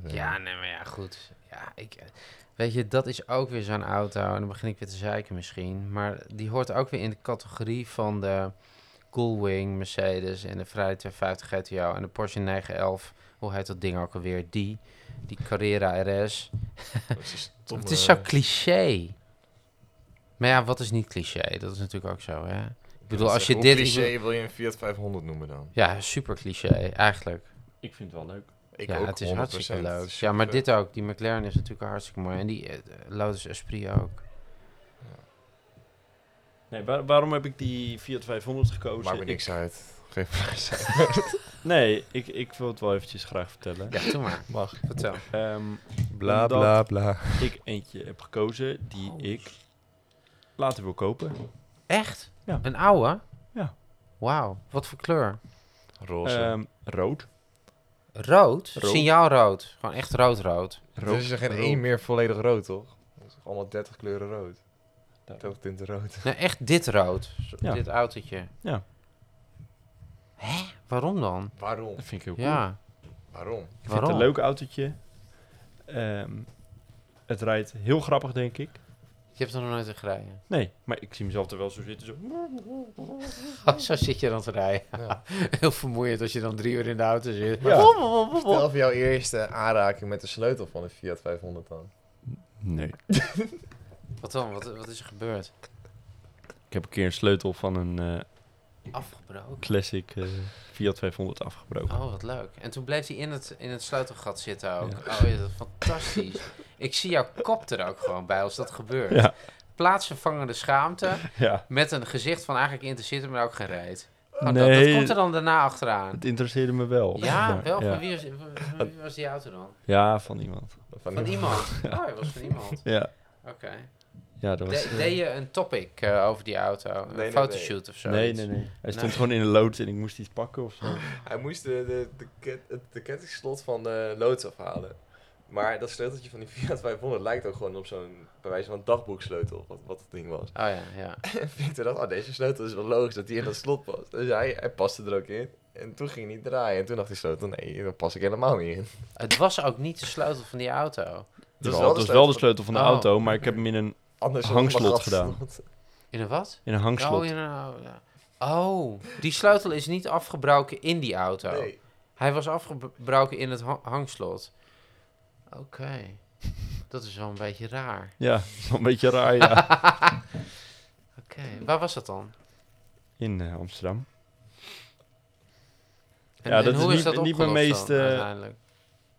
S3: Ja, nee, maar ja, goed. Ja, ik, eh, weet je, dat is ook weer zo'n auto. En dan begin ik weer te zeiken misschien. Maar die hoort ook weer in de categorie van de Coolwing Mercedes en de Ferrari 250 GTO en de Porsche 911. Hoe heet dat ding ook alweer? Die, die Carrera RS.
S1: dat is een stomme-
S3: Het is zo cliché. Maar ja, wat is niet cliché? Dat is natuurlijk ook zo, hè? Ik bedoel, als je
S1: Hoe
S3: dit...
S1: cliché wil je een Fiat 500 noemen dan?
S3: Ja, super cliché, eigenlijk.
S2: Ik vind het wel leuk.
S1: Ik
S3: ja,
S1: ook, Eh,
S3: het is
S1: 100%.
S3: hartstikke leuk.
S1: Super.
S3: Ja, maar dit ook. Die McLaren is natuurlijk hartstikke mooi. En die eh, Lotus Esprit ook.
S2: Nee, waar- waarom heb ik die Fiat 500 gekozen?
S1: Maakt me
S2: Ik-
S1: niks uit.
S3: (laughs)
S1: Geen prijs uit.
S2: nee, ik, ik wil het wel eventjes graag vertellen.
S3: Ja, doe maar.
S1: Mag.
S3: Vertel.
S2: Ehm,
S1: Bla
S2: Omdat-
S1: bla bla.
S2: ik eentje heb gekozen die ik later wil kopen.
S3: Echt?
S2: Ja.
S3: Een oude?
S2: Ja.
S3: Wauw. Wat voor kleur?
S1: Roze.
S2: Ehm, rood.
S3: Rood?
S2: Rood.
S3: Signaalrood. Gewoon echt rood-rood.
S1: er Dus is er geen één meer volledig rood, toch? Dat is toch allemaal 30 kleuren rood.
S2: Ja.
S1: 30 tinten rood.
S3: Nee, echt dit rood. Zo-
S2: Ja.
S3: Dit autootje.
S2: Ja.
S3: Hè? (laughs) Waarom dan?
S1: Waarom?
S2: Dat vind ik heel cool.
S3: Ja.
S1: Waarom?
S2: Ik vind het
S3: waarom?
S2: een leuk autootje. Ehm, het rijdt heel grappig, denk ik.
S3: Je hebt er nog nooit in gereden.
S2: Nee, maar ik zie mezelf er wel zo zitten. Zo.
S3: Oh, zo zit je dan te rijden.
S1: Ja.
S3: (laughs) Heel vermoeiend als je dan drie uur in de auto zit.
S2: Ja.
S1: Stel voor jouw eerste aanraking met de sleutel van een Fiat 500 dan.
S2: Nee.
S3: Wat dan? Wat, wat is er gebeurd?
S2: Ik heb een keer een sleutel van een eh,
S3: Afgebroken.
S2: classic eh, Fiat 500 afgebroken.
S3: Oh, wat leuk. En toen bleef hij in het, in het sleutelgat zitten ook.
S2: Ja.
S3: Oh, ja, dat is fantastisch.
S2: (laughs)
S3: Ik zie jouw kop er ook gewoon bij als dat gebeurt.
S2: Ah, Ja.
S3: Plaatsvervangende schaamte
S2: Ja.
S3: met een gezicht van eigenlijk in te zitten, maar ook geen reet. Oh, dat, dat
S2: Nee.
S3: komt er dan daarna achteraan.
S2: Het interesseerde me wel.
S3: Ja,
S2: Maar,
S3: wel. Van
S2: Ja,
S3: wie was, van wie was die auto dan?
S2: Ja, van iemand. (laughs)
S3: Van iemand. Oh, hij was van iemand.
S2: Ja,
S3: Oké.
S2: ja dat was... eh,
S3: De- deed je een topic eh, over die auto?
S1: Nee,
S3: Een
S1: nee,
S3: fotoshoot of zo?
S2: nee, nee, nee. Hij stond
S3: Nee.
S2: gewoon in een loods en ik moest iets pakken of zo.
S1: Hij moest de, de, de, ket, het- de kettingslot van de loods afhalen. Maar dat sleuteltje van die Fiat 500 lijkt ook gewoon op zo'n, bij wijze van dagboeksleutel, wat, wat het ding was. (laughs)
S3: Oh ja, ja.
S1: En Victor dacht, oh deze sleutel is wel logisch dat die in dat slot past. Dus hij, hij paste er ook in. En toen ging hij draaien. En toen dacht die sleutel, nee, daar pas ik helemaal niet in.
S3: Het was ook niet de sleutel van die auto.
S1: Dat
S2: Dus Dat
S1: is
S2: was
S1: wel
S2: wel,
S1: de
S2: de sleutel van de
S3: Oh.
S2: auto, maar ik heb hem in een,
S1: Anders had
S2: Hangslot
S1: het maar
S2: gedaan.
S1: gehad.
S3: In een wat?
S2: in een hangslot.
S3: Oh, in een auto. Oh, die sleutel is niet afgebroken in die auto.
S1: Nee.
S3: Hij was afgebroken in het ha- hangslot. Oké. Dat is wel een beetje raar.
S2: Ja, (laughs) dat is wel een beetje raar,
S3: (laughs)
S2: ja.
S3: Oké, waar was dat dan?
S2: In eh, Amsterdam.
S3: En,
S2: Ja,
S3: en
S2: dat is
S3: hoe is
S2: niet-
S3: dat
S2: niet
S3: opgelost
S2: mijn meest,
S3: dan,
S2: eh,
S3: uiteindelijk?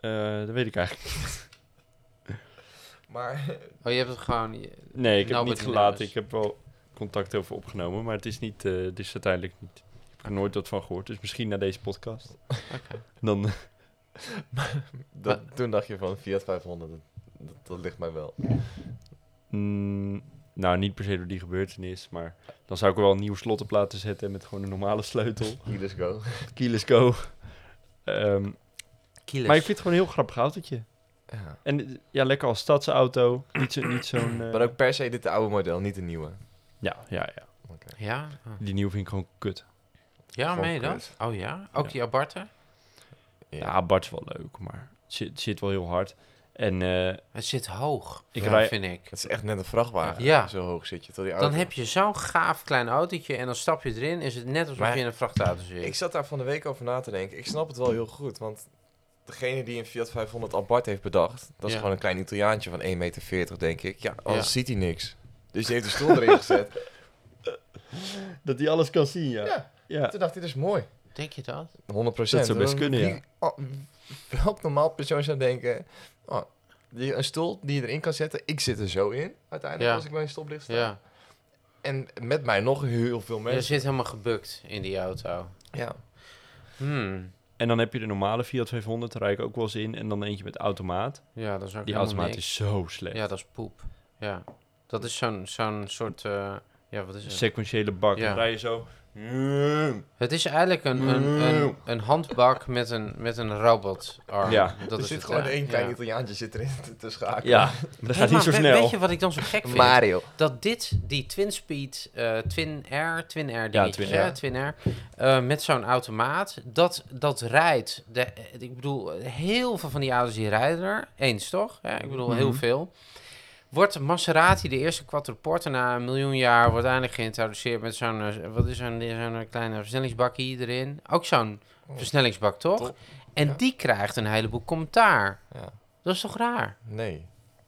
S2: Eh, dat weet ik eigenlijk niet.
S1: Maar
S3: Oh, je hebt het gewoon... je-
S2: Nee, ik heb
S3: Nobody
S2: niet gelaten.
S3: knows.
S2: Ik heb wel contact over opgenomen, maar het is niet, eh het is uiteindelijk niet. Ik heb er nooit wat van gehoord, dus misschien na deze podcast.
S3: Oké.
S2: (laughs) Dan,
S1: (laughs)
S2: eh,
S1: dat, toen dacht je van Fiat 500, dat, dat, dat ligt mij wel.
S2: Mm, nou, niet per se door die gebeurtenis, maar dan zou ik er wel een nieuw slot op laten zetten met gewoon een normale sleutel.
S1: Let's go.
S2: Keyless go. Ehm,
S3: Kielers.
S2: maar ik vind het gewoon een heel grappig autootje.
S1: Ja.
S2: En eh, ja, lekker als stadsauto. Niet, zo, niet zo'n... (clears throat) eh,
S1: Maar ook per se dit oude model, niet de nieuwe.
S2: Ja, ja, ja.
S3: Ja? Oh.
S2: Die nieuwe vind ik gewoon kut.
S3: Ja,
S1: Gewoon
S3: meen je dat?
S1: kut.
S3: Oh ja? Ook
S2: Ja.
S3: die Abartha?
S1: Ja.
S2: Ja, Bart is wel leuk, maar het zit, het zit wel heel hard. En eh,
S3: Het zit hoog,
S2: Ik
S3: ik
S2: rij-
S3: vind ik.
S1: Het is echt net een vrachtwagen.
S3: Ja.
S1: Zo hoog zit je tot die auto.
S3: Dan heb je zo'n gaaf klein autootje en dan stap je erin... is het net alsof
S1: Maar-
S3: je in een vrachtauto zit.
S1: Ik zat daar van de week over na te denken. Ik snap het wel heel goed, want degene die een Fiat 500 Albart heeft bedacht, dat is
S3: Ja.
S1: gewoon een klein Italiaantje van 1,40 meter, denk ik. Ja, anders
S3: Ja.
S1: ziet hij niks. Dus die heeft een stoel erin gezet.
S2: dat hij alles kan zien, ja.
S1: Ja.
S2: ja.
S1: Toen dacht hij, dit is mooi. 100%.
S3: Denk je dat?
S2: Dat zou best kunnen, ja.
S1: Wie- oh, welk normaal persoon zou denken, oh, die, een stoel die je erin kan zetten, ik zit er zo in, uiteindelijk,
S3: Ja.
S1: als ik bij een stoplicht sta.
S3: Ja.
S1: En met mij nog heel veel
S3: Je
S1: mensen.
S3: zit helemaal gebukt in die auto.
S1: Ja.
S3: Hmm.
S2: En dan heb je de normale Fiat 500, daar rijd ik ook wel eens in. En dan eentje met automaat.
S3: Ja, dat is ook
S2: Die
S3: helemaal
S2: automaat
S3: niks.
S2: is zo slecht.
S3: Ja, dat is poep. Ja. Dat is zo'n zo'n soort... eh, ja, wat is het?
S2: Sequentiële bak.
S3: Ja.
S2: Dan rij je zo...
S3: Het is eigenlijk een, een, een, een handbak met een, met een robot arm.
S2: Ja.
S3: dat
S1: er
S3: is
S1: zit
S3: het,
S1: gewoon
S3: ja.
S1: één klein
S3: Ja.
S1: Italiaantje zit erin te, te schakelen.
S2: Ja, maar dat
S3: Hey,
S2: gaat niet zo
S3: maar we-
S2: snel.
S3: Weet je wat ik dan zo gek vind?
S1: Mario.
S3: Dat dit, die Twin Speed, eh, Twin Air, Twin Air
S2: Ja,
S3: dingetjes,
S2: Twin Air.
S3: hè, Twin Air, eh, met zo'n automaat, dat, dat rijdt, de, eh, ik bedoel, heel veel van die auto's die rijden er, eens toch? Ja, ik bedoel, heel
S2: Mhm.
S3: veel. Wordt Maserati, de eerste quattroporte na een miljoen jaar, wordt eindelijk geïntroduceerd met zo'n, eh, wat is zo'n, zo'n kleine versnellingsbakje erin? Ook zo'n
S1: Oh.
S3: versnellingsbak, toch?
S1: Top.
S3: En
S1: Ja.
S3: die krijgt een heleboel commentaar.
S1: Ja.
S3: Dat is toch raar?
S1: Nee.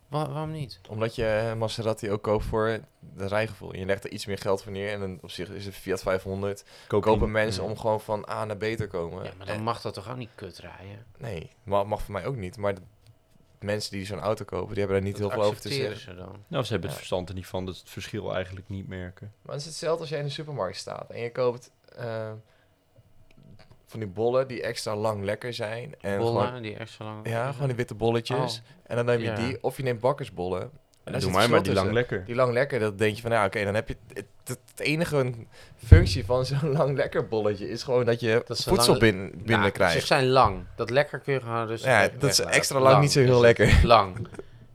S3: Wa- waarom niet?
S1: Omdat je eh, Maserati ook koopt voor het rijgevoel. Je legt er iets meer geld voor neer en dan op zich is het Fiat 500. Kopen mensen om gewoon van A naar B te komen.
S3: Ja, maar dan
S1: Eh,
S3: mag dat toch ook niet kut rijden?
S1: nee, mag, mag voor mij ook niet. Maar de mensen die zo'n auto kopen, die hebben er niet
S3: Dat
S1: heel veel over te
S3: accepteren
S1: zeggen.
S3: ze dan.
S2: Nou, ze hebben
S1: Ja.
S2: het verstand er niet van, dat ze het verschil eigenlijk niet merken.
S1: Maar het is hetzelfde als je in de supermarkt staat en je koopt eh, van die bollen die extra lang lekker zijn. En
S3: Bollen,
S1: Gewoon,
S3: die extra lang.
S1: ja, gewoon die witte bolletjes.
S3: Oh.
S1: En dan neem je
S3: Ja.
S1: die, of je neemt bakkersbollen. daar
S2: doe
S1: zit
S2: mij maar die
S1: verschil
S2: lang
S1: tussen.
S2: lekker.
S1: Die lang lekker, dat denk je van, nou oké, dan heb je... Het, het- het enige functie van zo'n (laughs) lang lekker bolletje is gewoon dat je
S3: Dat ze
S1: voedsel
S3: lang-
S1: binnen, binnenkrijgt.
S3: Ze zijn lang. Dat lekker kun je gewoon rustig
S1: Ja,
S3: even
S1: dat is
S3: weglaten.
S1: extra lang niet zo heel
S3: is het.
S1: lekker.
S3: (laughs) Lang.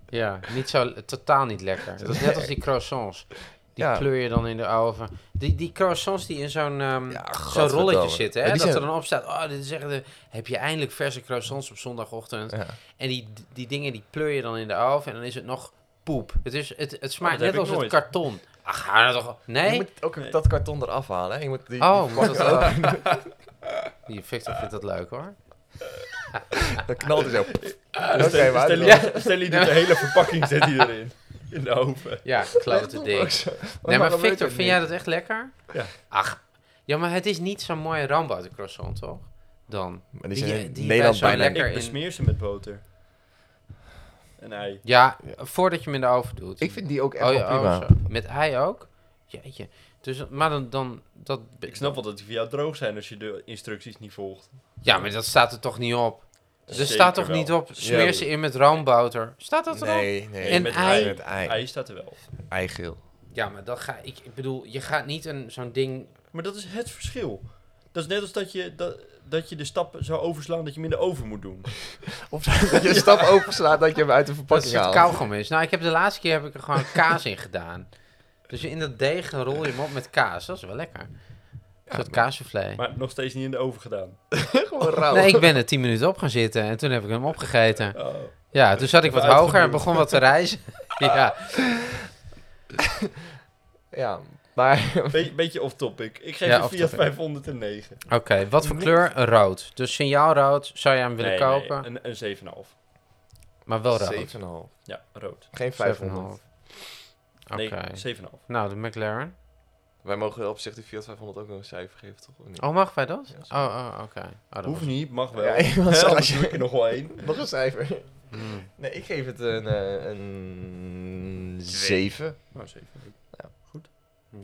S3: Ja, niet zo, totaal niet lekker. Dat is net als die croissants. Die
S1: Ja.
S3: pleur je dan in de oven. Die, die croissants die in zo'n ehm,
S1: Ja,
S3: zo'n
S1: gadverdamme.
S3: rolletje zitten. Hè?
S1: Ja,
S3: Dat
S1: die zijn-
S3: er dan op staat, oh, dit is echt de, heb je eindelijk verse croissants op zondagochtend.
S1: Ja.
S3: En die, die dingen die pleur je dan in de oven en dan is het nog poep. Het, is, het, het smaakt
S2: Oh, dat heb
S3: net
S2: ik
S3: als het
S2: nooit.
S3: karton. Ach, ga nou toch... Nee?
S1: Je moet ook dat karton eraf halen. hè. Je moet die,
S3: Oh,
S1: die
S3: moet
S1: verpakken
S3: dat ook? Die Victor vindt dat leuk hoor.
S1: af. (laughs) Dan knalt hij zo.
S2: Stel-
S1: Oké, maar-
S2: stel-
S1: Ja.
S2: stel- Stel je doet de hele verpakking zet hij erin. In de oven.
S3: Ja, klote
S1: Ook
S3: ding.
S1: zo.
S3: Nee,
S1: Dan
S3: maar
S1: gebeurt
S3: Victor,
S1: het
S3: vind
S1: niet.
S3: jij dat echt lekker?
S2: Ja.
S3: Ach, ja, maar het is niet zo'n mooie rambouten croissant, toch? Dan.
S1: Maar die
S3: die-
S1: zijn
S3: die-
S1: in
S3: die
S1: Nederland
S3: zijn
S1: bijna...
S3: lekker.
S2: Ik
S3: in-
S2: besmeer ze met boter. En ei.
S3: Ja, voordat je hem in de oven doet.
S1: Ik vind die ook echt
S3: oh,
S1: wel
S3: ja,
S1: prima.
S3: oh, zo. Met ei ook? Jeetje. Dus, maar dan, dan dat...
S2: Ik snap wel dat die voor jou droog zijn als je de instructies niet volgt.
S3: Ja, maar dat staat er toch niet op? Er
S2: Zeker
S3: staat toch
S2: wel.
S3: niet op, smeer
S1: Ja.
S3: ze in met roomboter. Staat dat erop?
S1: nee, nee.
S3: En
S1: met
S3: ei.
S1: Met ei.
S2: Ei staat er wel.
S1: Eigeel.
S3: Ja, maar dat ga ik... Ik bedoel, je gaat niet een- zo'n ding...
S2: Maar dat is het verschil. Dat is net als dat je, dat, dat je de stappen zou overslaan dat je hem in de oven moet doen.
S1: Of dat je een stap openslaat dat je hem uit de
S3: Dat
S1: verpakking
S3: is het
S1: haalt.
S3: kauwgom is. Nou, ik heb de laatste keer heb ik er gewoon (laughs) kaas in gedaan. Dus in dat deeg dan rol je hem op met kaas. Dat is wel lekker. Een soort kaassoufflé.
S2: Maar nog steeds niet in de oven gedaan.
S1: Gewoon rauw.
S3: Nee, ik ben er tien minuten op gaan zitten en toen heb ik hem opgegeten.
S2: Oh.
S3: Ja, toen zat ik wat
S2: Uitgedoemd.
S3: hoger en begon wat te reizen. (laughs) ja.
S1: Ja, maar...
S2: Be- beetje off topic. Ik geef
S3: Ja,
S2: je
S3: off
S2: Fiat
S1: topic.
S2: 509.
S3: Oké, wat voor kleur? Een rood. Dus signaalrood zou je hem willen
S2: Nee, nee,
S3: kopen,
S2: een, een 7,5.
S3: maar wel rood.
S1: 7,5.
S2: Ja, rood.
S1: Geen
S3: 7,5.
S1: 500.
S3: Oké.
S2: Nee, 7,5.
S3: Nou, de McLaren.
S1: Wij mogen op zich die Fiat 500 ook nog een cijfer geven, toch? Of niet?
S3: Oh, mag wij dat?
S1: Ja,
S3: oh, oh, oké. Oh, dat
S2: Hoeft
S3: was-
S2: niet, mag wel.
S3: (laughs)
S1: Ja, ik was al-
S2: als je er nog wel één.
S1: Nog een cijfer.
S3: Hmm.
S1: Nee, ik geef het een, eh, een 7.
S2: Nou, zeven.
S3: Ja.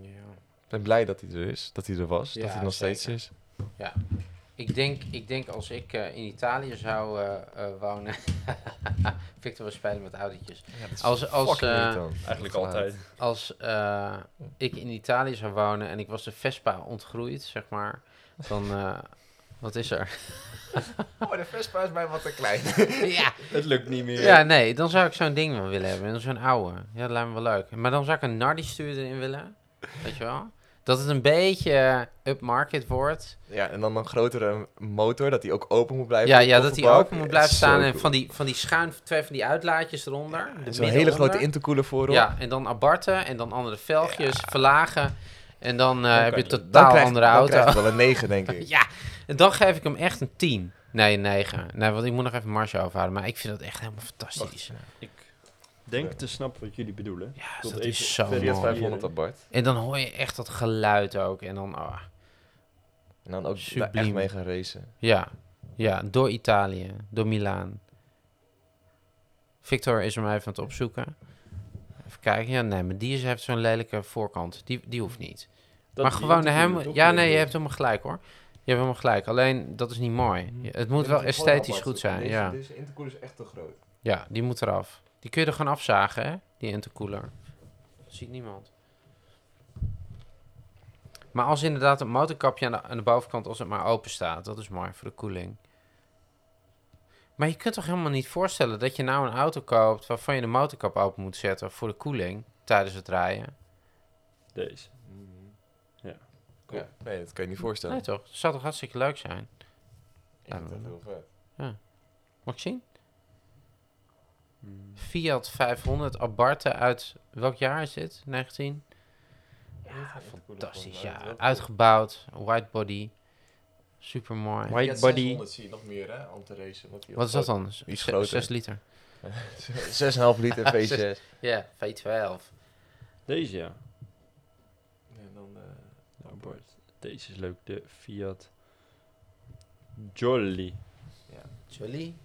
S1: Ik ben blij dat hij er is, dat hij er was,
S3: Ja,
S1: dat hij er nog
S3: zeker.
S1: steeds is.
S3: Ik denk, ik denk als ik eh, in Italië zou eh, eh, wonen. (laughs) Victor was spelen met autootjes. Als, als,
S1: Fucking
S3: eh,
S1: irritant.
S2: Eigenlijk
S1: Geluid.
S2: altijd.
S3: als eh, ik in Italië zou wonen en ik was de Vespa ontgroeid, zeg maar. Dan. eh, wat
S1: (laughs)
S3: is er?
S1: Oh, de Vespa is mij wat te klein. (laughs)
S3: ja,
S2: Het lukt niet meer.
S3: ja, nee, dan zou ik zo'n ding wel willen hebben. En Zo'n oude. Ja, dat lijkt me wel leuk. Maar dan zou ik een Nardi stuurder in willen. Weet je wel? Dat het een beetje eh, upmarket wordt.
S1: Ja, en dan een grotere motor, dat die ook open moet blijven.
S3: Ja,
S1: op de
S3: ja dat die
S1: kofferbak.
S3: open moet
S1: Ja,
S3: blijven
S1: zo
S3: staan. En
S1: cool.
S3: van die, van die schuin, twee van die uitlaatjes eronder.
S1: Ja,
S3: de
S1: en Zo'n
S3: midden
S1: hele grote
S3: onder.
S1: intercooler voorop.
S3: Ja, en dan abarten en dan andere velgjes, verlagen. En dan eh,
S2: Dan
S3: heb
S2: kan
S3: je
S2: je-
S1: Dan
S3: totaal
S1: krijgt-
S3: andere
S1: dan
S3: auto.
S1: krijgt het wel een 9,
S3: (laughs)
S1: denk ik.
S3: ja, en dan geef ik hem echt een 10. Nee, een 9. Nee, want ik moet nog even marge overhouden. Maar ik vind dat echt helemaal fantastisch.
S2: Ik denk te snappen wat jullie bedoelen.
S3: Ja, dus
S2: Tot
S3: dat
S2: even
S3: is zo
S2: verder
S1: Fiat
S2: Fiat
S3: mooi.
S1: 500
S2: 500
S1: op Bart.
S3: En dan hoor je echt dat geluid ook. En dan, ah,
S1: En dan ook daar echt
S3: Subliem.
S1: mee gaan racen.
S3: ja. Ja, door Italië, door Milaan. Victor is hem even aan het opzoeken. Even kijken. Ja, nee, maar die is, heeft zo'n lelijke voorkant. Die, die hoeft niet.
S2: Dat
S3: maar
S2: die
S3: gewoon
S2: interview,
S3: hem.
S2: toch?
S3: Ja, nee, je
S2: bedoelt-
S3: hebt helemaal gelijk hoor. Je hebt helemaal gelijk. Alleen dat is niet mooi.
S2: Mhm.
S3: Je- Het moet wel esthetisch goed zijn. Ja.
S1: Deze intercooler is echt te groot.
S3: ja, die moet eraf. Die kun je er gewoon afzagen, hè? Die intercooler. Dat ziet niemand. Maar als inderdaad het motorkapje aan de, aan de bovenkant, als het maar open staat, dat is mooi voor de koeling. Maar je kunt toch helemaal niet voorstellen dat je nou een auto koopt waarvan je de motorkap open moet zetten voor de koeling tijdens het rijden?
S2: Deze. Cool.
S1: Ja. Nee, dat kan je niet
S3: Nee
S1: voorstellen.
S3: toch? Dat zou toch hartstikke leuk zijn?
S1: Ik vind dat heel vet.
S3: Mag ik zien?
S1: Hmm.
S3: Fiat 500 Abarthe uit welk jaar is dit? 19?
S1: Ja,
S3: Fantastisch, ja. Uitgebouwd, white body. Super mooi.
S2: White body.
S1: zie je nog meer, hè, om te racen. want die
S3: Wat is dat
S1: had (laughs)
S3: dan?
S1: is groter.
S3: 6 liter.
S1: ook 6,5
S3: (laughs)
S1: liter V6.
S3: Ja, V12.
S2: Deze, ja.
S1: En dan, eh,
S2: Nou, Bart. Deze is leuk. De Fiat Jolly.
S1: (laughs)
S3: Jolly.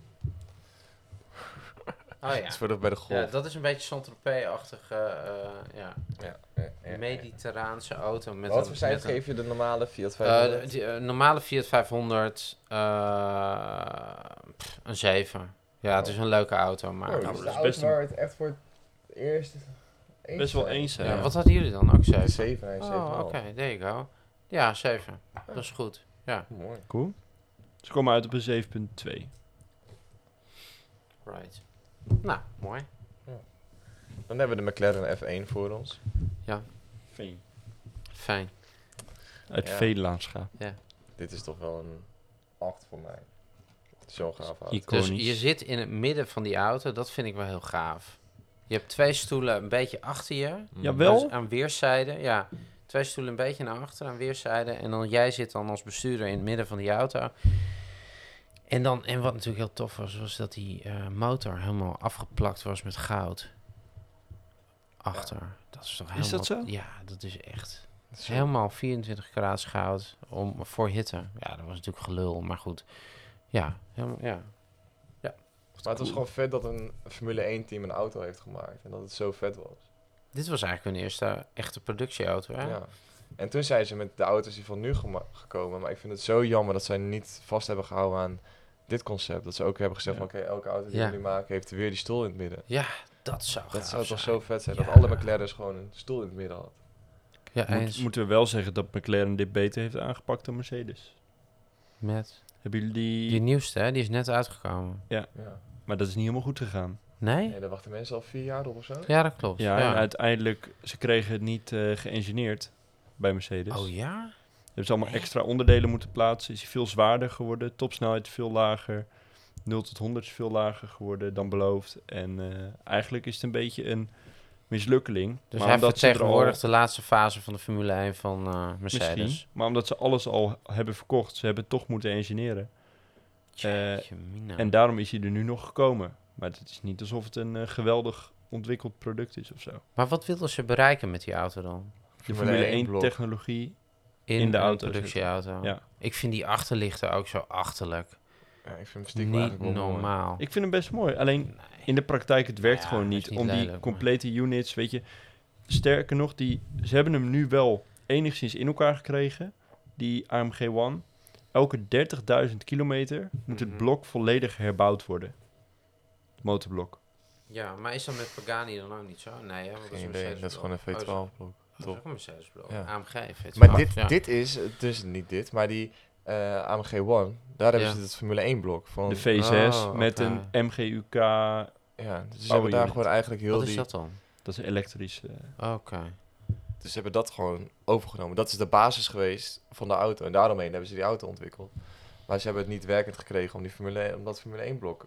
S3: Oh
S1: Dat (laughs) is
S3: ja.
S1: voor de, bij de
S3: Ja,
S1: golf.
S3: dat is een beetje Saint-Tropez-achtige, eh, ja.
S1: Ja, ja, ja, ja.
S3: mediterraanse auto. Met
S1: Wat
S3: een-
S1: voor
S3: met
S1: cijfer
S3: een-
S1: geef je de normale Fiat
S3: Eh,
S1: 500?
S3: die, eh, normale Fiat 500, eh, pff, een 7. Ja, het is een leuke auto, maar...
S1: Oh,
S2: nou,
S1: dus
S2: dat is
S1: de
S2: best
S1: auto waar het echt voor het eerst eens
S2: Best wel eens
S3: ja,
S2: zijn.
S3: eh, Wat hadden jullie dan? Ook 7?
S1: 7, hij
S3: Oh, oké, there you go. Ja, 7. Dat is goed.
S1: Mooi.
S2: Cool. Ze komen uit op een 7.2.
S3: Right. Nou, mooi.
S1: Dan hebben we de McLaren F1 voor ons.
S2: Veen.
S3: Fijn.
S2: Uit
S1: Ja.
S2: Veenlaanscha.
S1: Dit is toch wel een 8 voor mij. Zo'n gaaf auto.
S2: Iconisch.
S3: Dus je zit in het midden van die auto, dat vind ik wel heel gaaf. Je hebt twee stoelen een beetje achter je.
S2: Jawel.
S3: Dus aan weerszijden, ja. Twee stoelen een beetje naar achter, aan weerszijden. En dan jij zit dan als bestuurder in het midden van die auto. En, dan, en wat natuurlijk heel tof was, was dat die eh, motor helemaal afgeplakt was met goud. Achter. Dat is toch helemaal...
S2: Is dat zo?
S3: Ja, dat is echt...
S1: Dat is zo-
S3: Helemaal 24 graden goud om, voor hitte. Ja, dat was natuurlijk gelul, maar goed. Ja, helemaal, ja.
S1: Maar het was gewoon vet dat een Formule 1 team een auto heeft gemaakt. En dat het zo vet was.
S3: Dit was eigenlijk hun eerste echte productieauto, hè?
S1: Ja. En toen zijn ze met de auto's die van nu gema- gekomen. Maar ik vind het zo jammer dat zij niet vast hebben gehouden aan dit concept. Dat ze ook hebben gezegd
S2: Ja.
S1: van oké, elke auto die
S3: Ja.
S1: jullie maken heeft weer die stoel in het midden.
S3: Ja, dat zou
S1: Dat
S3: gaaf
S1: zou toch
S3: zijn.
S1: zo vet zijn
S3: Ja.
S1: dat alle McLaren's gewoon een stoel in het midden hadden.
S3: Ja, eens.
S2: Moet, moeten we wel zeggen dat McLaren dit beter heeft aangepakt dan Mercedes.
S3: Met
S2: Hebben jullie die...
S3: die nieuwste, hè? Die is net uitgekomen.
S1: Ja.
S2: Maar dat is niet helemaal goed gegaan.
S3: Nee?
S1: Nee, daar wachten mensen al vier jaar op of zo.
S3: Ja, dat klopt.
S2: Ja,
S3: Ja.
S2: en uiteindelijk... Ze kregen het niet eh geëngineerd bij Mercedes.
S3: Oh ja?
S2: Hebben ze allemaal extra onderdelen moeten plaatsen. Is hij veel zwaarder geworden. Topsnelheid veel lager. 0 tot 100 is veel lager geworden dan beloofd. En eh, eigenlijk is het een beetje een mislukkeling.
S3: Dus
S2: maar
S3: hij
S2: omdat ze er al-
S3: vertegenwoordigt de laatste fase van de Formule 1 van eh, Mercedes.
S2: Misschien. Maar omdat ze alles al hebben verkocht. Ze hebben het toch moeten engineeren. Eh,
S3: Jeetje mina.
S2: En daarom is hij er nu nog gekomen. Maar het is niet alsof het een eh, geweldig ontwikkeld product is of zo.
S3: Maar wat wilden ze bereiken met die auto dan?
S2: De
S1: Formule
S2: Formule
S1: 1
S2: 1
S1: blok.
S2: technologie.
S3: in,
S2: In de
S3: een
S2: auto dus-
S3: productieauto.
S2: Ja.
S3: Ik vind die achterlichten ook zo achterlijk.
S1: Ja, ik vind hem stiekem
S3: Niet
S1: eigenlijk wel mooi.
S3: normaal.
S2: Ik vind hem best mooi. Alleen
S3: Nee.
S2: in de praktijk, het werkt
S3: Ja,
S2: gewoon
S3: dat is
S2: niet.
S3: niet
S2: Om
S3: lelijk,
S2: die
S3: maar-
S2: complete units, weet je. Sterker nog, die, ze hebben hem nu wel enigszins in elkaar gekregen. Die AMG One. Elke 30.000 kilometer moet het
S3: Mhm.
S2: blok volledig herbouwd worden. Het motorblok.
S3: Ja, maar is dat met Pagani dan ook niet zo? Nee, hè, want Oh, dat is
S1: Geen
S3: een
S1: idee, dat is gewoon een
S3: Mercedes-Benz. Oh,
S1: V12 blok.
S3: dat is
S1: Top.
S3: ook een Mercedes-blok.
S1: Ja.
S3: AMG V12.
S1: Maar dit,
S3: ja.
S1: dit is, dus niet dit, maar die eh, AMG One, daar hebben
S3: Ja.
S1: ze het Formule 1 blok van.
S2: De V6
S3: oh,
S2: met
S3: oké.
S2: een MGUK.
S1: ja, dus ze
S2: Power
S1: hebben daar
S2: unit.
S1: gewoon eigenlijk heel
S3: Wat is
S1: die...
S3: dat dan?
S2: Dat is elektrisch. eh,
S3: Oké.
S1: Dus ze hebben dat gewoon overgenomen. Dat is de basis geweest van de auto. En daaromheen hebben ze die auto ontwikkeld. Maar ze hebben het niet werkend gekregen om, die Formule, om dat Formule 1 blok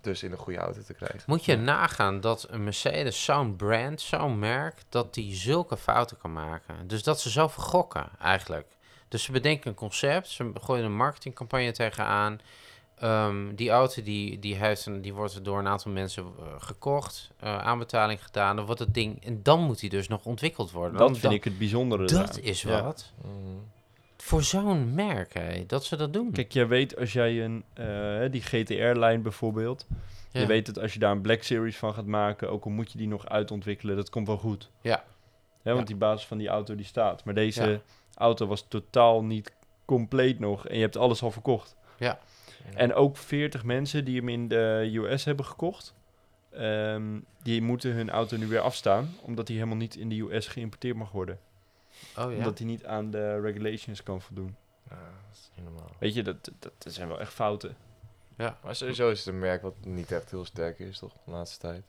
S1: dus in een goede auto te krijgen.
S3: Moet je nagaan dat een Mercedes, zo'n brand, zo'n merk, dat die zulke fouten kan maken. Dus dat ze zo vergokken eigenlijk. Dus ze bedenken een concept, ze gooien een marketingcampagne tegenaan. Ehm, die auto die, die, heeft een, die wordt door een aantal mensen eh, gekocht, eh, aanbetaling gedaan, dan wordt het ding. En dan moet die dus nog ontwikkeld worden.
S2: dat
S3: Want
S2: vind ik het bijzondere.
S3: Dat
S2: eraan.
S3: is
S2: Ja.
S3: wat.
S1: Mhm.
S3: Mm-hmm. Voor zo'n merk, hè, dat ze dat doen.
S2: Kijk, jij weet als jij een, eh, die GTR-lijn bijvoorbeeld.
S3: ja.
S2: Je weet dat als je daar een Black Series van gaat maken, ook al moet je die nog uitontwikkelen, dat komt wel goed.
S3: Ja.
S2: Hè, want
S3: Ja.
S2: die basis van die auto die staat. Maar deze
S3: Ja.
S2: auto was totaal niet compleet nog en je hebt alles al verkocht.
S3: Ja.
S2: En ook 40 mensen die hem in de US hebben gekocht, ehm, die moeten hun auto nu weer afstaan, omdat die helemaal niet in de US geïmporteerd mag worden.
S3: oh, ja.
S2: Omdat die niet aan de regulations kan voldoen.
S1: Ja, dat is niet normaal.
S2: Weet je, dat, dat, dat zijn wel echt fouten.
S1: Maar sowieso is het een merk wat niet echt heel sterk is, toch? De laatste tijd.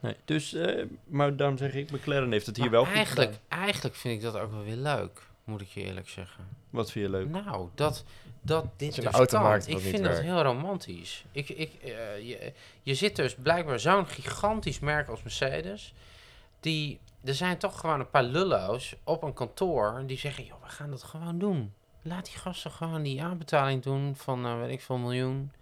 S2: Nee, dus, eh, maar daarom zeg ik, McLaren heeft het hier
S3: Maar
S2: wel goed
S3: eigenlijk,
S2: gedaan.
S3: eigenlijk vind ik dat ook wel weer leuk, moet ik je eerlijk zeggen.
S2: Wat vind je leuk?
S3: Nou, dat, dat dit
S1: je een
S3: dus
S1: auto
S3: kan.
S1: maakt
S3: ik
S1: wat niet
S3: vind dat
S1: werkt.
S3: heel romantisch. Ik, ik, eh, je, je zit dus blijkbaar zo'n gigantisch merk als Mercedes. Die, er zijn toch gewoon een paar lullo's op een kantoor die zeggen... joh, we gaan dat gewoon doen. Laat die gasten gewoon die aanbetaling doen van, eh, weet ik veel, miljoen.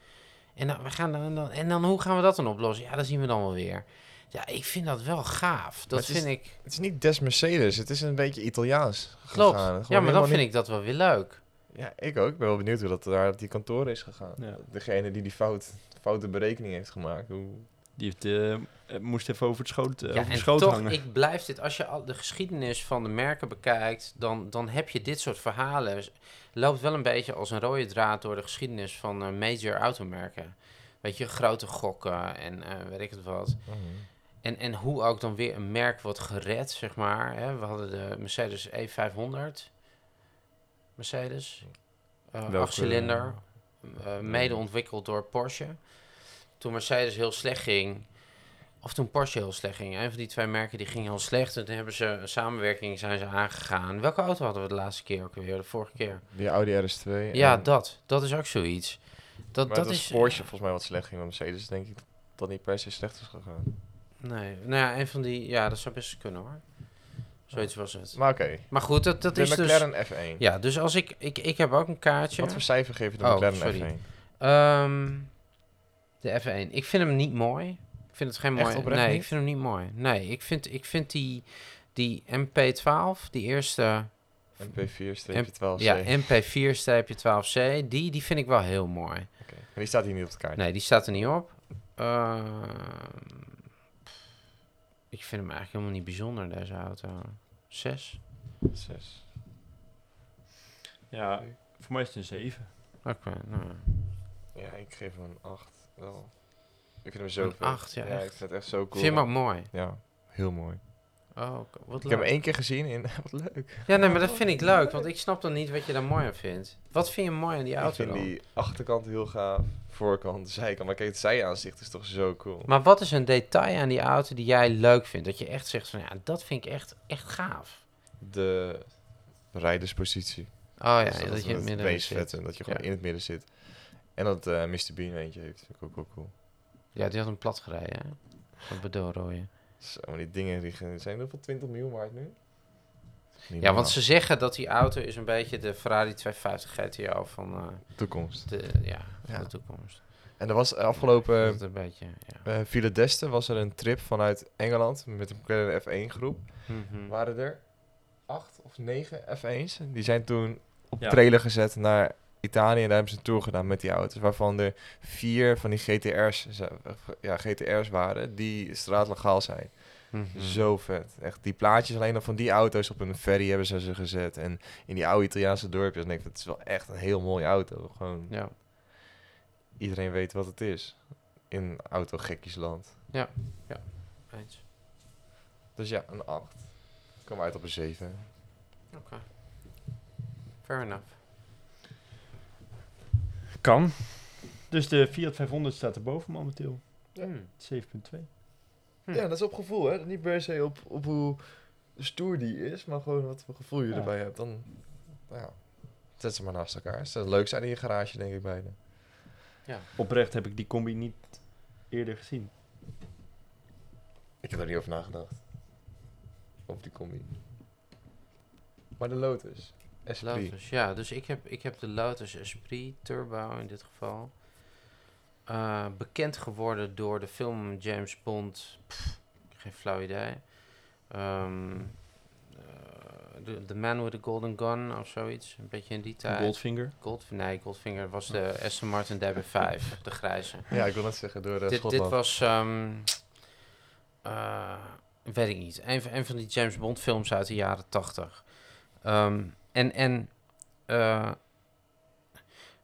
S3: En dan, we gaan dan, dan- en dan hoe gaan we dat dan oplossen? Ja, dat zien we dan wel weer. Ja, ik vind dat wel gaaf. Dat
S1: het is-
S3: vind ik...
S1: Het is niet des Mercedes, het is een beetje Italiaans
S3: Klopt.
S1: gegaan. Gewoon
S3: Ja, maar dan
S1: helemaal
S3: vind ik dat wel weer leuk.
S1: niet- Ja, ik ook. Ik ben wel benieuwd hoe dat daar op die kantoren is gegaan.
S2: Ja.
S1: Degene die die fout, foute berekening heeft gemaakt. Hoe...
S2: Die heeft, eh, eh, moest even over het schoot, eh,
S3: Ja,
S2: over de
S3: en
S2: schoot
S3: toch,
S2: hangen.
S3: ik blijf dit... Als je al de geschiedenis van de merken bekijkt... Dan, dan heb je dit soort verhalen. Loopt wel een beetje als een rode draad... door de geschiedenis van eh, major automerken. Weet je, grote gokken en eh, weet ik het wat. En, en hoe ook dan weer een merk wordt gered, zeg maar. Hè? We hadden de Mercedes E500. Mercedes.
S2: Welke,
S3: eh achtcilinder. eh, mede ontwikkeld door Porsche. Toen Mercedes heel slecht ging... Of toen Porsche heel slecht ging. Een van die twee merken die ging heel slecht. En toen hebben ze een samenwerking zijn ze aangegaan. Welke auto hadden we de laatste keer ook weer? De vorige keer.
S1: Die Audi RS2.
S3: Ja,
S1: en-
S3: dat. Dat is ook zoiets. Dat,
S1: maar het
S3: dat
S1: was
S3: is eh,
S1: Porsche volgens mij wat slecht ging. Maar Mercedes denk ik dat niet per se slecht is gegaan.
S3: Nee, nou ja, een van die... Ja, dat zou best kunnen hoor. Zoiets was het.
S1: Maar oké,
S3: Maar goed, dat, dat
S1: de
S3: is dus...
S1: McLaren F1.
S3: Ja, dus als ik, ik... Ik heb ook een kaartje.
S1: Wat voor cijfer geef je de
S3: Oh,
S1: McLaren
S3: sorry.
S1: F1?
S3: Ehm, de F1. Ik vind hem niet mooi. Ik vind het geen
S1: Echt
S3: mooi...
S1: oprecht
S3: nee,
S1: niet?
S3: ik vind hem niet mooi. Nee, ik vind, ik vind die, die MP12, die eerste...
S1: MP4-12C.
S3: Ja, MP4-12C, die, die vind ik wel heel mooi.
S1: Oké. Maar die staat hier niet op de kaart.
S3: Nee, die staat er niet op. Ehm, ik vind hem eigenlijk helemaal niet bijzonder, deze auto. Zes?
S1: Zes.
S2: Ja, voor mij is het een 7.
S3: Oké, nou ja.
S1: Ja, ik geef hem een 8. Wel. Ik vind hem zo
S3: Een
S1: vet.
S3: acht, ja, echt.
S1: ik vind het echt zo cool.
S3: Vind je hem ook mooi?
S1: Ja, heel mooi.
S3: Oh, oké. wat
S1: Ik heb hem
S3: leuk.
S1: één keer gezien in... (laughs) Wat leuk.
S3: Ja, nee, maar dat vind ik leuk, want ik snap dan niet wat je daar mooi aan vindt. Wat vind je mooi aan die
S1: ik
S3: auto
S1: vind
S3: dan?
S1: die achterkant heel gaaf. Voorkant, zijkant. Maar kijk, het zijaanzicht is toch zo cool.
S3: Maar wat is een detail aan die auto die jij leuk vindt? Dat je echt zegt van, ja, dat vind ik echt, echt gaaf.
S1: De rijderspositie.
S3: Oh ja,
S1: Dus
S3: dat, je in het midden
S1: meest
S3: zit.
S1: vette, dat je gewoon
S3: Ja.
S1: in het midden zit. En dat eh Mr. Bean eentje heeft, vind ik ook wel cool.
S3: Ja, die had hem plat gereden, hè? Van bedoelrooien.
S1: Zo, maar die dingen die gaan- zijn er van 20 miljoen waard nu. Niet
S3: Ja, want
S1: normaal.
S3: ze zeggen dat die auto is een beetje de Ferrari 250 GTO van eh,
S1: Toekomst.
S3: de, ja, van
S1: Ja.
S3: de toekomst.
S1: En er was eh,
S3: Dat
S1: afgelopen
S3: het een beetje, ja.
S1: eh Villa d'Este was er een trip vanuit Engeland met een McLaren F1 groep.
S3: Mhm.
S1: Waren er acht of negen F1's. Die zijn toen op
S2: Ja.
S1: trailer gezet naar Italië. En daar hebben ze een tour gedaan met die auto's. Waarvan er vier van die GTR's, zijn- ja, GTR's waren die straatlegaal zijn.
S3: Mhm.
S1: Zo vet. Echt, die plaatjes alleen al van die auto's op een ferry hebben ze ze gezet. En in die oude Italiaanse dorpjes. En ik denk, dat is wel echt een heel mooie auto. Gewoon
S3: Ja.
S1: iedereen weet wat het is. In autogekkiesland.
S3: Eens.
S1: Dus ja, een 8. Ik kwam uit op een 7.
S3: Fair enough.
S2: Kan. Dus de Fiat 500 staat erboven momenteel.
S3: Hmm.
S2: 7.2.
S3: Hm.
S1: Ja, dat is op gevoel, hè? Niet per se op, op hoe stoer die is, maar gewoon wat voor gevoel je
S2: Ja.
S1: erbij hebt. Dan, nou ja, zet ze maar naast elkaar. Ze leuk zijn in je garage, denk ik, beide.
S2: Oprecht heb ik die combi niet eerder gezien.
S1: Ik heb er niet over nagedacht. Op die combi. Maar de Lotus. Esprit.
S3: Lotus, ja. Dus ik heb, ik heb de Lotus Esprit Turbo in dit geval. Eh, bekend geworden door de film James Bond. Pff, geen flauw idee. Ehm, eh, the, The Man with the Golden Gun of zoiets. Een beetje in die tijd.
S2: Goldfinger.
S3: Gold, nee, Goldfinger was de Aston Martin DB5. de grijze.
S1: Ja, ik wil net zeggen, door de
S3: dit, dit
S1: Schotland.
S3: was, ehm, eh, weet ik niet, een, van- een van die James Bond films uit de jaren tachtig. Ehm, en en eh,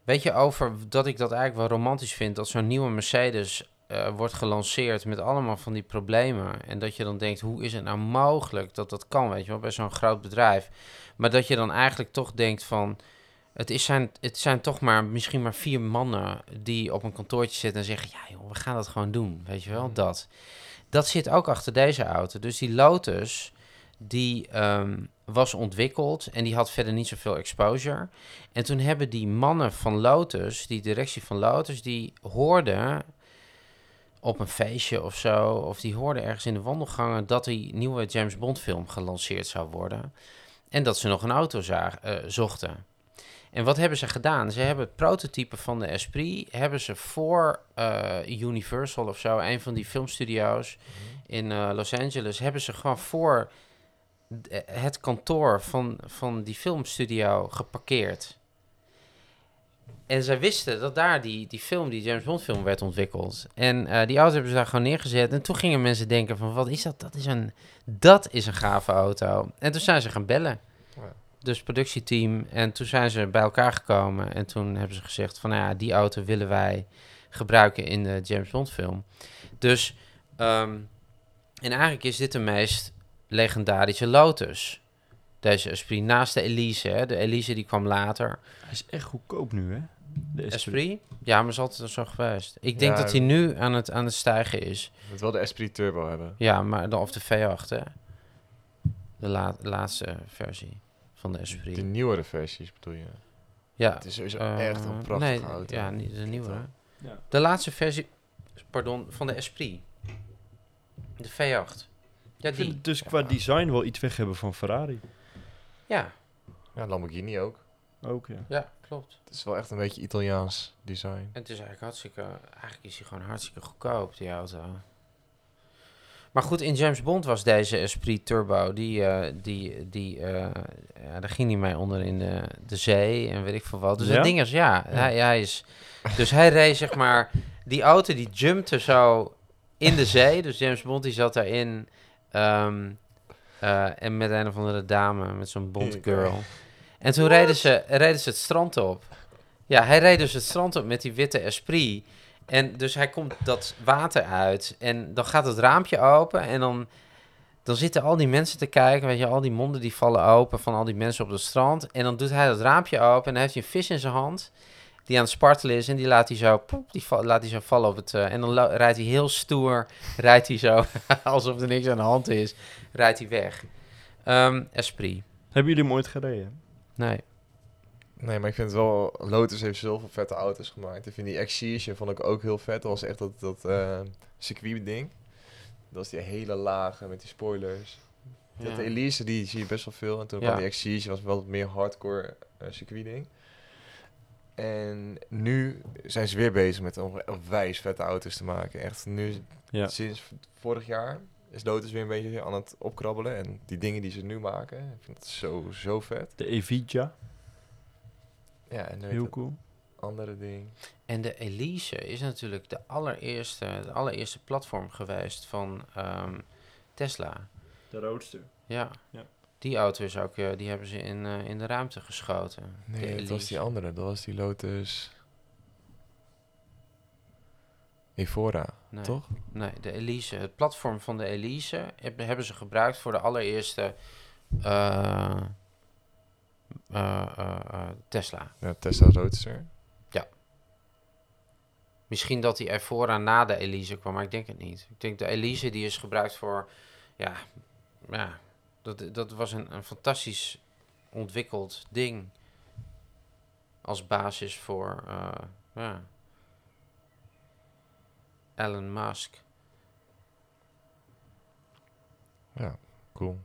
S3: weet je over dat ik dat eigenlijk wel romantisch vind, dat zo'n nieuwe Mercedes eh, wordt gelanceerd met allemaal van die problemen. En dat je dan denkt, hoe is het nou mogelijk dat dat kan, weet je wel, bij zo'n groot bedrijf. Maar dat je dan eigenlijk toch denkt van, het, is zijn, het zijn toch maar misschien maar vier mannen die op een kantoortje zitten en zeggen: Ja, joh, we gaan dat gewoon doen. Weet je wel,
S1: Mhm.
S3: dat. Dat zit ook achter deze auto. Dus die Lotus, die ehm, was ontwikkeld en die had verder niet zoveel exposure. En toen hebben die mannen van Lotus, die directie van Lotus, die hoorden op een feestje of zo, of die hoorden ergens in de wandelgangen dat die nieuwe James Bond film gelanceerd zou worden. En dat ze nog een auto zagen, eh, zochten. En wat hebben ze gedaan? Ze hebben het prototype van de Esprit... hebben ze voor eh, Universal of zo... een van die filmstudio's in eh, Los Angeles... hebben ze gewoon voor d- eh, het kantoor van, van die filmstudio geparkeerd. En zij wisten dat daar die, die film, die James Bond film, werd ontwikkeld. En eh, die auto hebben ze daar gewoon neergezet. En toen gingen mensen denken van, wat is dat? Dat is een, dat is een gave auto. En toen zijn ze gaan bellen dus productieteam. En toen zijn ze bij elkaar gekomen. En toen hebben ze gezegd van, nou ja, die auto willen wij gebruiken in de James Bond film. Dus, ehm, en eigenlijk is dit de meest legendarische Lotus. Deze Esprit, naast de Elise. Hè. De Elise die kwam later.
S2: Hij is echt goedkoop nu, hè? De
S3: Esprit? Ja, maar is altijd al zo geweest. Ik denk
S1: Ja.
S3: dat hij nu aan het, aan het stijgen is.
S1: Het wil de Esprit Turbo hebben.
S3: Ja, maar dan of de V8, hè. De la- laatste versie van de
S1: De
S3: Esprit.
S1: nieuwere versies bedoel je.
S3: Ja,
S1: Het is sowieso
S3: Eh,
S1: echt een prachtige
S3: nee,
S1: auto.
S3: Ja, niet de nieuwe.
S2: Ja.
S3: De laatste versie, pardon, van de Esprit. De V8. Ja,
S2: Ik vind
S3: die.
S2: het dus qua design wel iets weg hebben van Ferrari.
S3: Ja,
S1: Ja, Lamborghini ook.
S2: Ook, ja.
S3: ja, klopt.
S1: Het is wel echt een beetje Italiaans design.
S3: En het is eigenlijk hartstikke... Eigenlijk is hij gewoon hartstikke goedkoop, die auto. Maar goed, in James Bond was deze Esprit Turbo. Die, eh, die, die, eh, ja, daar ging hij mee onder in de, de zee en weet ik veel wat. Dus
S2: Ja?
S3: dat ding is, ja, Hij, hij is... Dus hij reed, zeg maar... Die auto, die jumpte zo in de zee. Dus James Bond, die zat daarin. ehm, eh, en met een of andere dame, met zo'n Bond
S1: Ik, eh,
S3: girl. En toen reden ze, reden ze het strand op. Ja, hij reed dus het strand op met die witte Esprit. En dus hij komt dat water uit. En dan gaat het raampje open. En dan, dan zitten al die mensen te kijken. Weet je, al die monden die vallen open van al die mensen op het strand. En dan doet hij dat raampje open. En dan heeft hij een vis in zijn hand. Die aan het spartelen is. En die laat hij zo, poep, die va- laat hij zo vallen op het. eh, en dan lo- rijdt hij heel stoer. Rijdt hij zo, (laughs) alsof er niks aan de hand is. Rijdt hij weg. Ehm, Esprit.
S2: Hebben jullie hem ooit gereden?
S3: Nee.
S1: Nee, maar ik vind het wel... Lotus heeft zoveel vette auto's gemaakt. Ik vind die Excision vond ik ook heel vet. Dat was echt dat, dat eh, circuit ding. Dat is die hele lage met die spoilers. Ja.
S3: Ja.
S1: de Elise, die zie je best wel veel. En toen
S3: Ja.
S1: kwam die Excision, was wel wat meer hardcore eh circuit ding. En nu zijn ze weer bezig met om wijs vette auto's te maken. Echt, nu
S2: Ja.
S1: sinds vorig jaar is Lotus weer een beetje aan het opkrabbelen. En die dingen die ze nu maken, ik vind het zo, zo vet.
S2: De Evija,
S1: Ja, en dan
S2: heel cool.
S1: andere ding.
S3: En de Elise is natuurlijk de allereerste, het allereerste platform geweest van ehm, Tesla.
S2: De roodster.
S3: Ja.
S2: Ja.
S3: Die auto is ook, eh, die hebben ze in, eh, in de ruimte geschoten. de
S1: Nee, dat was
S3: Elise.
S1: die andere. Dat was die Lotus... Evora,
S3: Nee.
S1: toch?
S3: Nee, de Elise. Het platform van de Elise heb- hebben ze gebruikt voor de allereerste eh, eh, eh, eh, Tesla.
S1: Ja, Tesla Roadster.
S3: Misschien dat die Evora na de Elise kwam, maar ik denk het niet. Ik denk de Elise die is gebruikt voor... Ja, ja dat, dat was een, een fantastisch ontwikkeld ding. Als basis voor... eh, ja. Elon Musk.
S1: Ja, cool.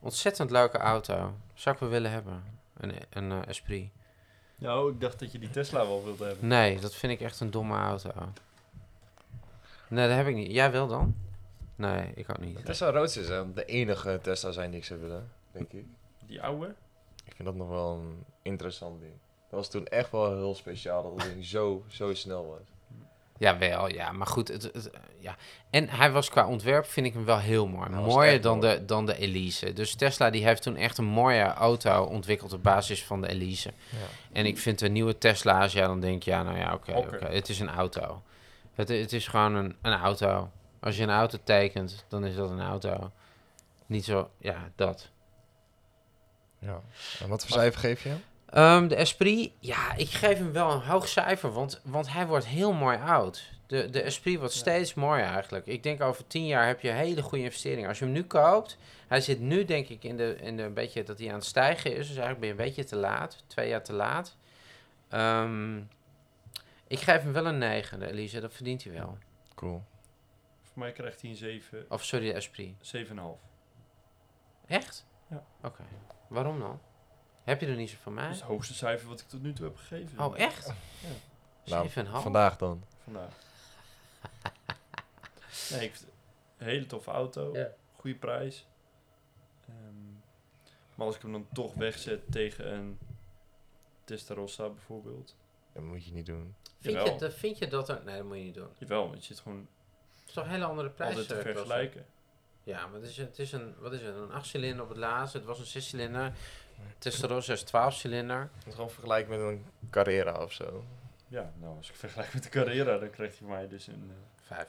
S3: Ontzettend leuke auto. Zou ik wel willen hebben. Een, een eh, Esprit.
S2: Nou, ik dacht dat je die Tesla wel wilde hebben.
S3: Nee, dat vind ik echt een domme auto. Nee, dat heb ik niet. Jij wel dan? Nee, ik ook niet.
S1: Tesla Roadster is eh, de enige Tesla zijn die ik zou willen, denk ik.
S2: Die oude?
S1: Ik vind dat nog wel een interessant ding. Dat was toen echt wel heel speciaal dat het ding zo, zo snel was.
S3: Jawel, ja, maar goed. Het, het- eh, ja. En hij was qua ontwerp, vind ik hem wel heel mooi.
S1: Hij was
S3: Mooier
S1: echt
S3: dan
S1: mooi.
S3: de, dan de Elise. Dus Tesla die heeft toen echt een mooie auto ontwikkeld op basis van de Elise. En ik vind een nieuwe Tesla, als jij dan denkt, ja, nou ja, oké, oké,
S2: Oké.
S3: het is een auto. Het, het is gewoon een, een auto. Als je een auto tekent, dan is dat een auto. Niet zo, ja, dat.
S1: Ja. En wat voor cijfer geef je hem?
S3: Ehm, de Esprit, ja, ik geef hem wel een hoog cijfer, want, want hij wordt heel mooi oud. De, de Esprit wordt steeds mooier eigenlijk. Ik denk over tien jaar heb je hele goede investeringen. Als je hem nu koopt, hij zit nu denk ik in de, in de een beetje dat hij aan het stijgen is. Dus eigenlijk ben je een beetje te laat, twee jaar te laat. Ehm, ik geef hem wel een 9, de Elise, dat verdient hij wel.
S1: Cool.
S2: Voor mij krijgt hij een 7,
S3: Of sorry, de Esprit.
S2: 7,5.
S3: Echt?
S2: Ja.
S3: Oké, waarom dan? Heb je er niet zo van
S2: Dat
S3: mij?
S2: is het hoogste cijfer wat ik tot nu toe heb gegeven.
S3: Oh, echt?
S1: Nou,
S3: 7,5?
S1: Vandaag dan.
S2: Vandaag. (laughs) nee, ik vind- een hele toffe auto.
S3: Ja.
S2: Goede prijs. Ehm, maar als ik hem dan toch wegzet tegen een Testarossa bijvoorbeeld.
S1: Dat moet je niet doen.
S3: Vind je,
S2: Jawel.
S3: dat- vind je dat er... Nee, dat moet je niet doen.
S2: Jawel, want je zit gewoon
S3: Het is toch een hele andere prijs.
S2: altijd te
S3: eh, klasse.
S2: vergelijken.
S3: Ja, maar het is, het is een, wat is het, een 8-cilinder op het laatst. Het was een 6-cilinder. Testarossa is 12-cilinder.
S1: Het is gewoon vergelijken met een Carrera of zo.
S2: Ja, nou als ik vergelijk met de Carrera, dan krijgt hij voor mij dus een
S3: (laughs)
S2: eh,
S3: 5.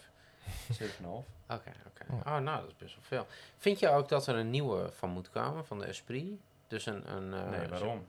S2: 7,5.
S3: Oké, oké. Oh, nou, dat is best wel veel. Vind je ook dat er een nieuwe van moet komen, van de Esprit? Dus een... een eh,
S2: nee, waarom?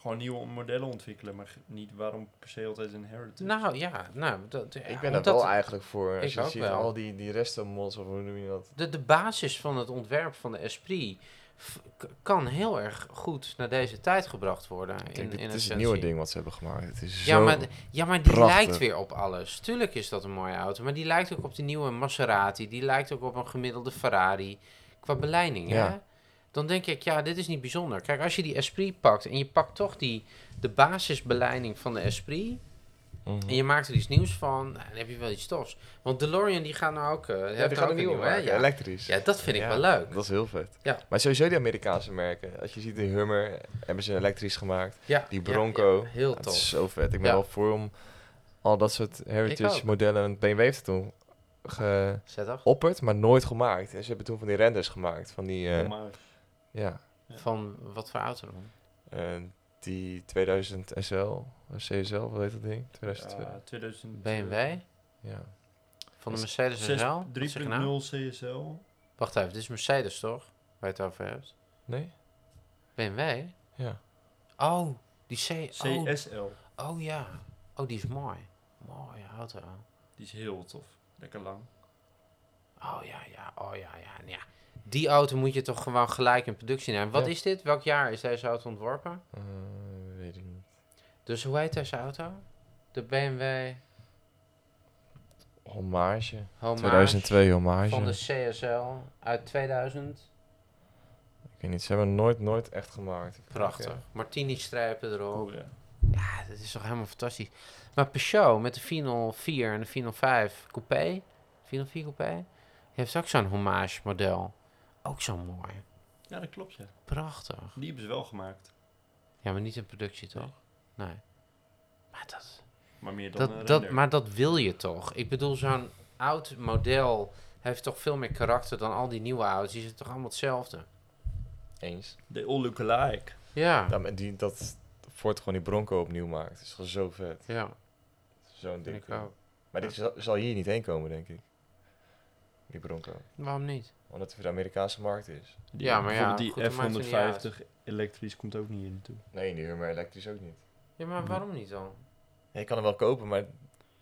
S2: Gewoon nieuwe modellen ontwikkelen, maar ge- niet waarom per se altijd een Heritage.
S3: zo- Nou, ja. Nou, dat,
S1: ik ben er
S3: dat
S1: wel eigenlijk voor.
S3: Ik
S1: Als je
S3: ook
S1: ziet
S3: wel.
S1: al die, die resten mods of hoe noem je dat?
S3: de, de basis van het ontwerp van de Esprit f- k- kan heel erg goed naar deze tijd gebracht worden.
S1: Ik
S3: in,
S1: denk, dit
S3: in
S1: is het
S3: essentie.
S1: nieuwe ding wat ze hebben gemaakt. Het is
S3: Ja
S1: zo... Mhm.
S3: maar, d- ja, maar die
S1: prachtig.
S3: lijkt weer op alles. Tuurlijk is dat een mooie auto, maar die lijkt ook op die nieuwe Maserati. Die lijkt ook op een gemiddelde Ferrari. Qua beleiding, hè?
S1: Ja.
S3: Dan denk ik, ja, dit is niet bijzonder. Kijk, als je die Esprit pakt en je pakt toch die, de basisbeleiding van de Esprit...
S1: Mhm.
S3: en je maakt er iets nieuws van, nou, dan heb je wel iets tofs. Want DeLorean, die gaan nou ook... eh
S1: Ja,
S3: hebben
S1: die
S3: nou
S1: gaan ook nieuw
S3: hè?
S1: maken.
S3: Ja.
S1: Elektrisch.
S3: ja, dat vind ik
S1: Ja,
S3: wel leuk.
S1: Dat is heel vet.
S3: Ja.
S1: Maar sowieso die Amerikaanse merken. Als je ziet de Hummer, hebben ze elektrisch gemaakt.
S3: Ja,
S1: Die
S3: ja,
S1: Bronco.
S3: ja, heel
S1: Dat is
S3: tof.
S1: zo vet. Ik ben
S3: Ja.
S1: wel voor om al dat soort
S3: Ik ook.
S1: heritage modellen. Want BMW heeft het toen
S3: Zet af.
S1: geopperd, maar nooit gemaakt. En ze hebben toen van die renders gemaakt. Van die, eh,
S2: Maar
S1: ja,
S2: Ja.
S3: Van wat voor auto dan?
S1: eh, die 2000 SL, of CSL, wat heet dat ding? 2002.
S3: eh,
S2: ja, 2000,
S3: BMW?
S1: Ja.
S3: Van de
S1: Zes-
S3: Mercedes
S2: eh, Zes-
S3: SL? Wat
S2: 3.0
S3: zeg je nou?
S2: CSL.
S3: Wacht even, dit is Mercedes toch? Waar je het over hebt.
S1: Nee?
S3: BMW?
S1: Ja.
S3: Oh, die C... Oh,
S2: CSL.
S3: oh ja. Oh, die is mooi. Mooie auto.
S2: Die is heel tof. Lekker lang.
S3: Oh ja, ja. Oh ja, ja. ja. Die auto moet je toch gewoon gelijk in productie nemen. Wat
S1: Ja.
S3: is dit? Welk jaar is deze auto ontworpen?
S1: Eh, weet ik niet.
S3: Dus hoe heet deze auto? De BMW
S1: Hommage.
S3: Homage
S1: 2002 Hommage.
S3: van de CSL uit 2000.
S1: Ik weet niet, ze hebben het nooit, nooit echt gemaakt.
S3: Prachtig.
S1: Ja.
S3: Martini-strijpen erop.
S2: Cool, ja.
S3: Ja, dat is toch helemaal fantastisch. Maar Peugeot met de 404 en de 405 coupé, 404 coupé, heeft ook zo'n hommage model. Ook zo mooi.
S2: Ja, dat klopt, ja.
S3: Prachtig.
S2: Die hebben ze wel gemaakt.
S3: Ja, maar niet in productie toch? Nee. Maar dat,
S2: Maar meer dan
S1: eh,
S2: een
S3: dat, dat,
S2: render.
S3: maar dat wil je toch? Ik bedoel, zo'n oud model heeft toch veel meer karakter dan al die nieuwe auto's. Die zijn toch allemaal hetzelfde?
S1: Eens.
S2: They all look alike.
S3: Ja.
S1: Ja, maar die, dat Ford gewoon die Bronco opnieuw maakt. is gewoon zo vet.
S3: Ja,
S1: Zo'n
S3: vind
S1: ding.
S3: ik ook.
S1: Maar dit zal, zal hier niet heen komen, denk ik. Die Bronco.
S3: Waarom niet?
S1: Omdat het voor de Amerikaanse markt is.
S2: Die-
S3: Ja, maar ja,
S2: bijvoorbeeld
S3: goed, dat maakt er niet uit.
S2: Die F-150 elektrisch komt ook niet hier naartoe.
S1: Nee, die Hummer elektrisch ook niet.
S3: Ja, maar waarom niet dan?
S1: Ja, je kan hem wel kopen, maar
S3: Of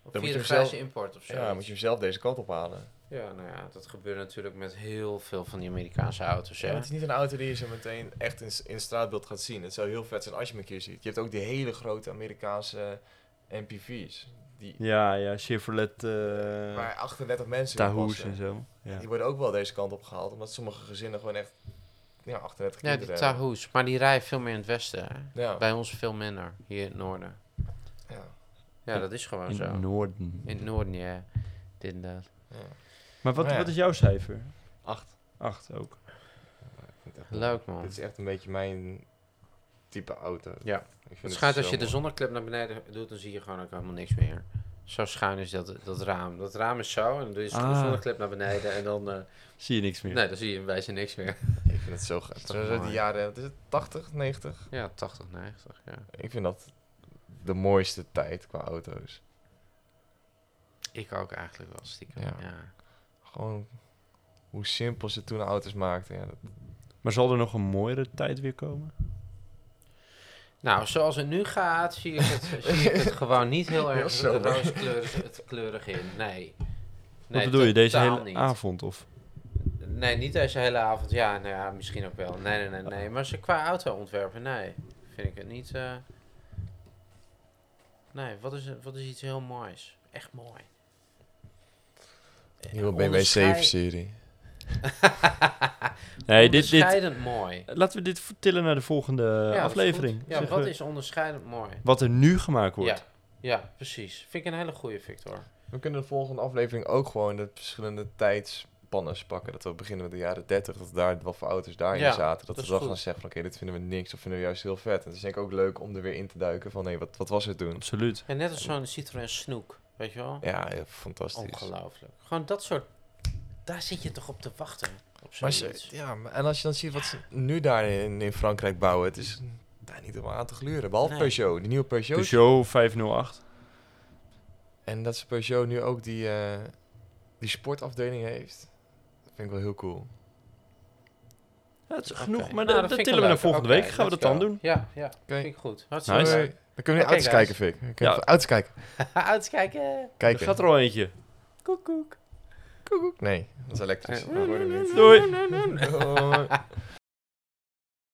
S1: Hm. Dan moet
S3: via
S1: je
S3: de
S1: hem zelf-
S3: grijze import of zo.
S1: ja, moet je hem zelf deze kant ophalen.
S3: Ja, nou ja, dat gebeurt natuurlijk met heel veel van die Amerikaanse auto's.
S1: Ja,
S3: Hè?
S1: het is niet een auto die je zo meteen echt in, in straatbeeld gaat zien. Het zou heel vet zijn als je hem een keer ziet. Je hebt ook die hele grote Amerikaanse MPV's. Die
S2: Ja, ja, Chevrolet, eh,
S1: waar 38 mensen in
S2: Tahoe's
S1: passen.
S2: en zo. Ja.
S1: Die worden ook wel deze kant op gehaald. Omdat sommige gezinnen gewoon echt ja, 38
S3: Ja, die
S1: kinderen hebben.
S3: Tahoes. Maar die rijden veel meer in het westen. Hè?
S1: Ja,
S3: Bij ons veel minder, hier in het noorden.
S1: ja,
S3: Ja, dat is gewoon
S2: In
S3: zo.
S2: het noorden.
S3: in het noorden, ja. Inderdaad.
S1: ja.
S2: Maar wat,
S1: Nou ja.
S2: wat is jouw cijfer?
S1: Acht.
S2: Acht ook.
S1: Ik vind het echt-
S3: Leuk, man.
S1: Dit is echt een beetje mijn type auto.
S3: Ja.
S1: Ik vind
S3: Het
S1: het
S3: schijnt als
S1: zo
S3: je de
S1: mooi.
S3: zonneclip naar beneden doet, dan zie je gewoon ook helemaal niks meer. Zo schuin is dat, dat raam. Dat raam is zo en dan doe je de
S2: Ah.
S3: zonneclip naar beneden en dan... eh,
S2: Zie je niks meer.
S3: nee, dan zie je in wijze niks meer. (laughs)
S1: Ik vind het zo gaaf.
S3: toch
S1: Zo zo die
S3: mooi.
S1: jaren, wat is het 80, 90?
S3: Ja, 80, 90, ja.
S1: Ik vind dat de mooiste tijd qua auto's.
S3: Ik ook eigenlijk wel, stiekem.
S1: Ja.
S3: Ja.
S1: Gewoon hoe simpel ze toen auto's maakten. Ja, dat,
S2: Maar zal er nog een mooiere tijd weer komen?
S3: Nou, zoals het nu gaat, zie ik het, zie ik het gewoon niet heel
S1: Heel
S3: erg
S1: sober.
S3: rooskleurig het kleurig in. Nee.
S2: wat bedoel je, deze
S3: totaal
S2: hele
S3: niet.
S2: avond? Of?
S3: Nee, niet deze hele avond. Ja, nou ja, misschien ook wel. Nee, nee, nee, nee. Maar ze qua auto ontwerpen, nee. Vind ik het niet. eh. Nee, wat is, wat is iets heel moois? Echt mooi.
S1: Nieuwe BMW
S3: Onderscheid-
S1: 7-serie.
S2: Nee, dit, dit,
S3: Onderscheidend mooi.
S2: laten we dit vertillen naar de volgende
S3: Ja, dat is
S2: aflevering.
S3: goed. Ja,
S2: Zeggen
S3: wat
S2: we
S3: is onderscheidend mooi?
S2: wat er nu gemaakt
S3: Ja,
S2: wordt.
S3: ja, precies. Vind ik een hele goede, Victor.
S1: We kunnen de volgende aflevering ook gewoon de verschillende tijdspannen pakken. Dat we beginnen met de jaren 30, dat daar wat voor auto's daarin
S3: Ja,
S1: zaten. Dat,
S3: dat
S1: we
S3: is
S1: dan
S3: goed.
S1: gaan zeggen van oké, dit vinden we niks of vinden we juist heel vet. En het is denk ik ook leuk om er weer in te duiken van hé, wat, wat was het toen?
S2: Absoluut.
S3: En net als zo'n Citroën Snoek, weet je wel?
S1: Ja, ja, fantastisch.
S3: Ongelooflijk. Gewoon dat soort... Daar zit je toch op te wachten? Op
S1: Maar
S3: zoiets.
S1: ze- ja, maar- en als je dan ziet wat ze nu daar in, in Frankrijk bouwen, het is daar niet om aan te gluren. Behalve
S3: Nee.
S1: Peugeot, die nieuwe Peugeot.
S2: Peugeot 508.
S1: En dat ze Peugeot nu ook die, eh, die sportafdeling heeft. Dat vind ik wel heel cool.
S2: Ja, het is
S3: Oké.
S2: genoeg, maar
S3: Nou,
S2: dat,
S3: dat
S2: dat
S3: vind ik
S2: tillen we
S3: wel
S2: naar
S3: leuk.
S2: volgende
S3: Oké,
S2: week. Gaan we dat
S1: let's
S2: dan
S1: go.
S2: doen?
S3: Ja, ja. Vind ik goed. Hartstikke
S2: Nice.
S3: leuk. (laughs)
S1: Hey, dan kunnen we
S3: Oké,
S1: naar auto's
S3: guys.
S1: kijken, Fik. We kunnen
S2: Ja.
S1: even auto's kijken.
S3: Uitkijken.
S2: Er
S1: kijken.
S2: gaat er al eentje.
S1: Koekoek. Nee, dat is elektrisch.
S3: Eh,
S2: nou,
S1: Dat hoorde niet.
S2: Doei.
S1: Doei.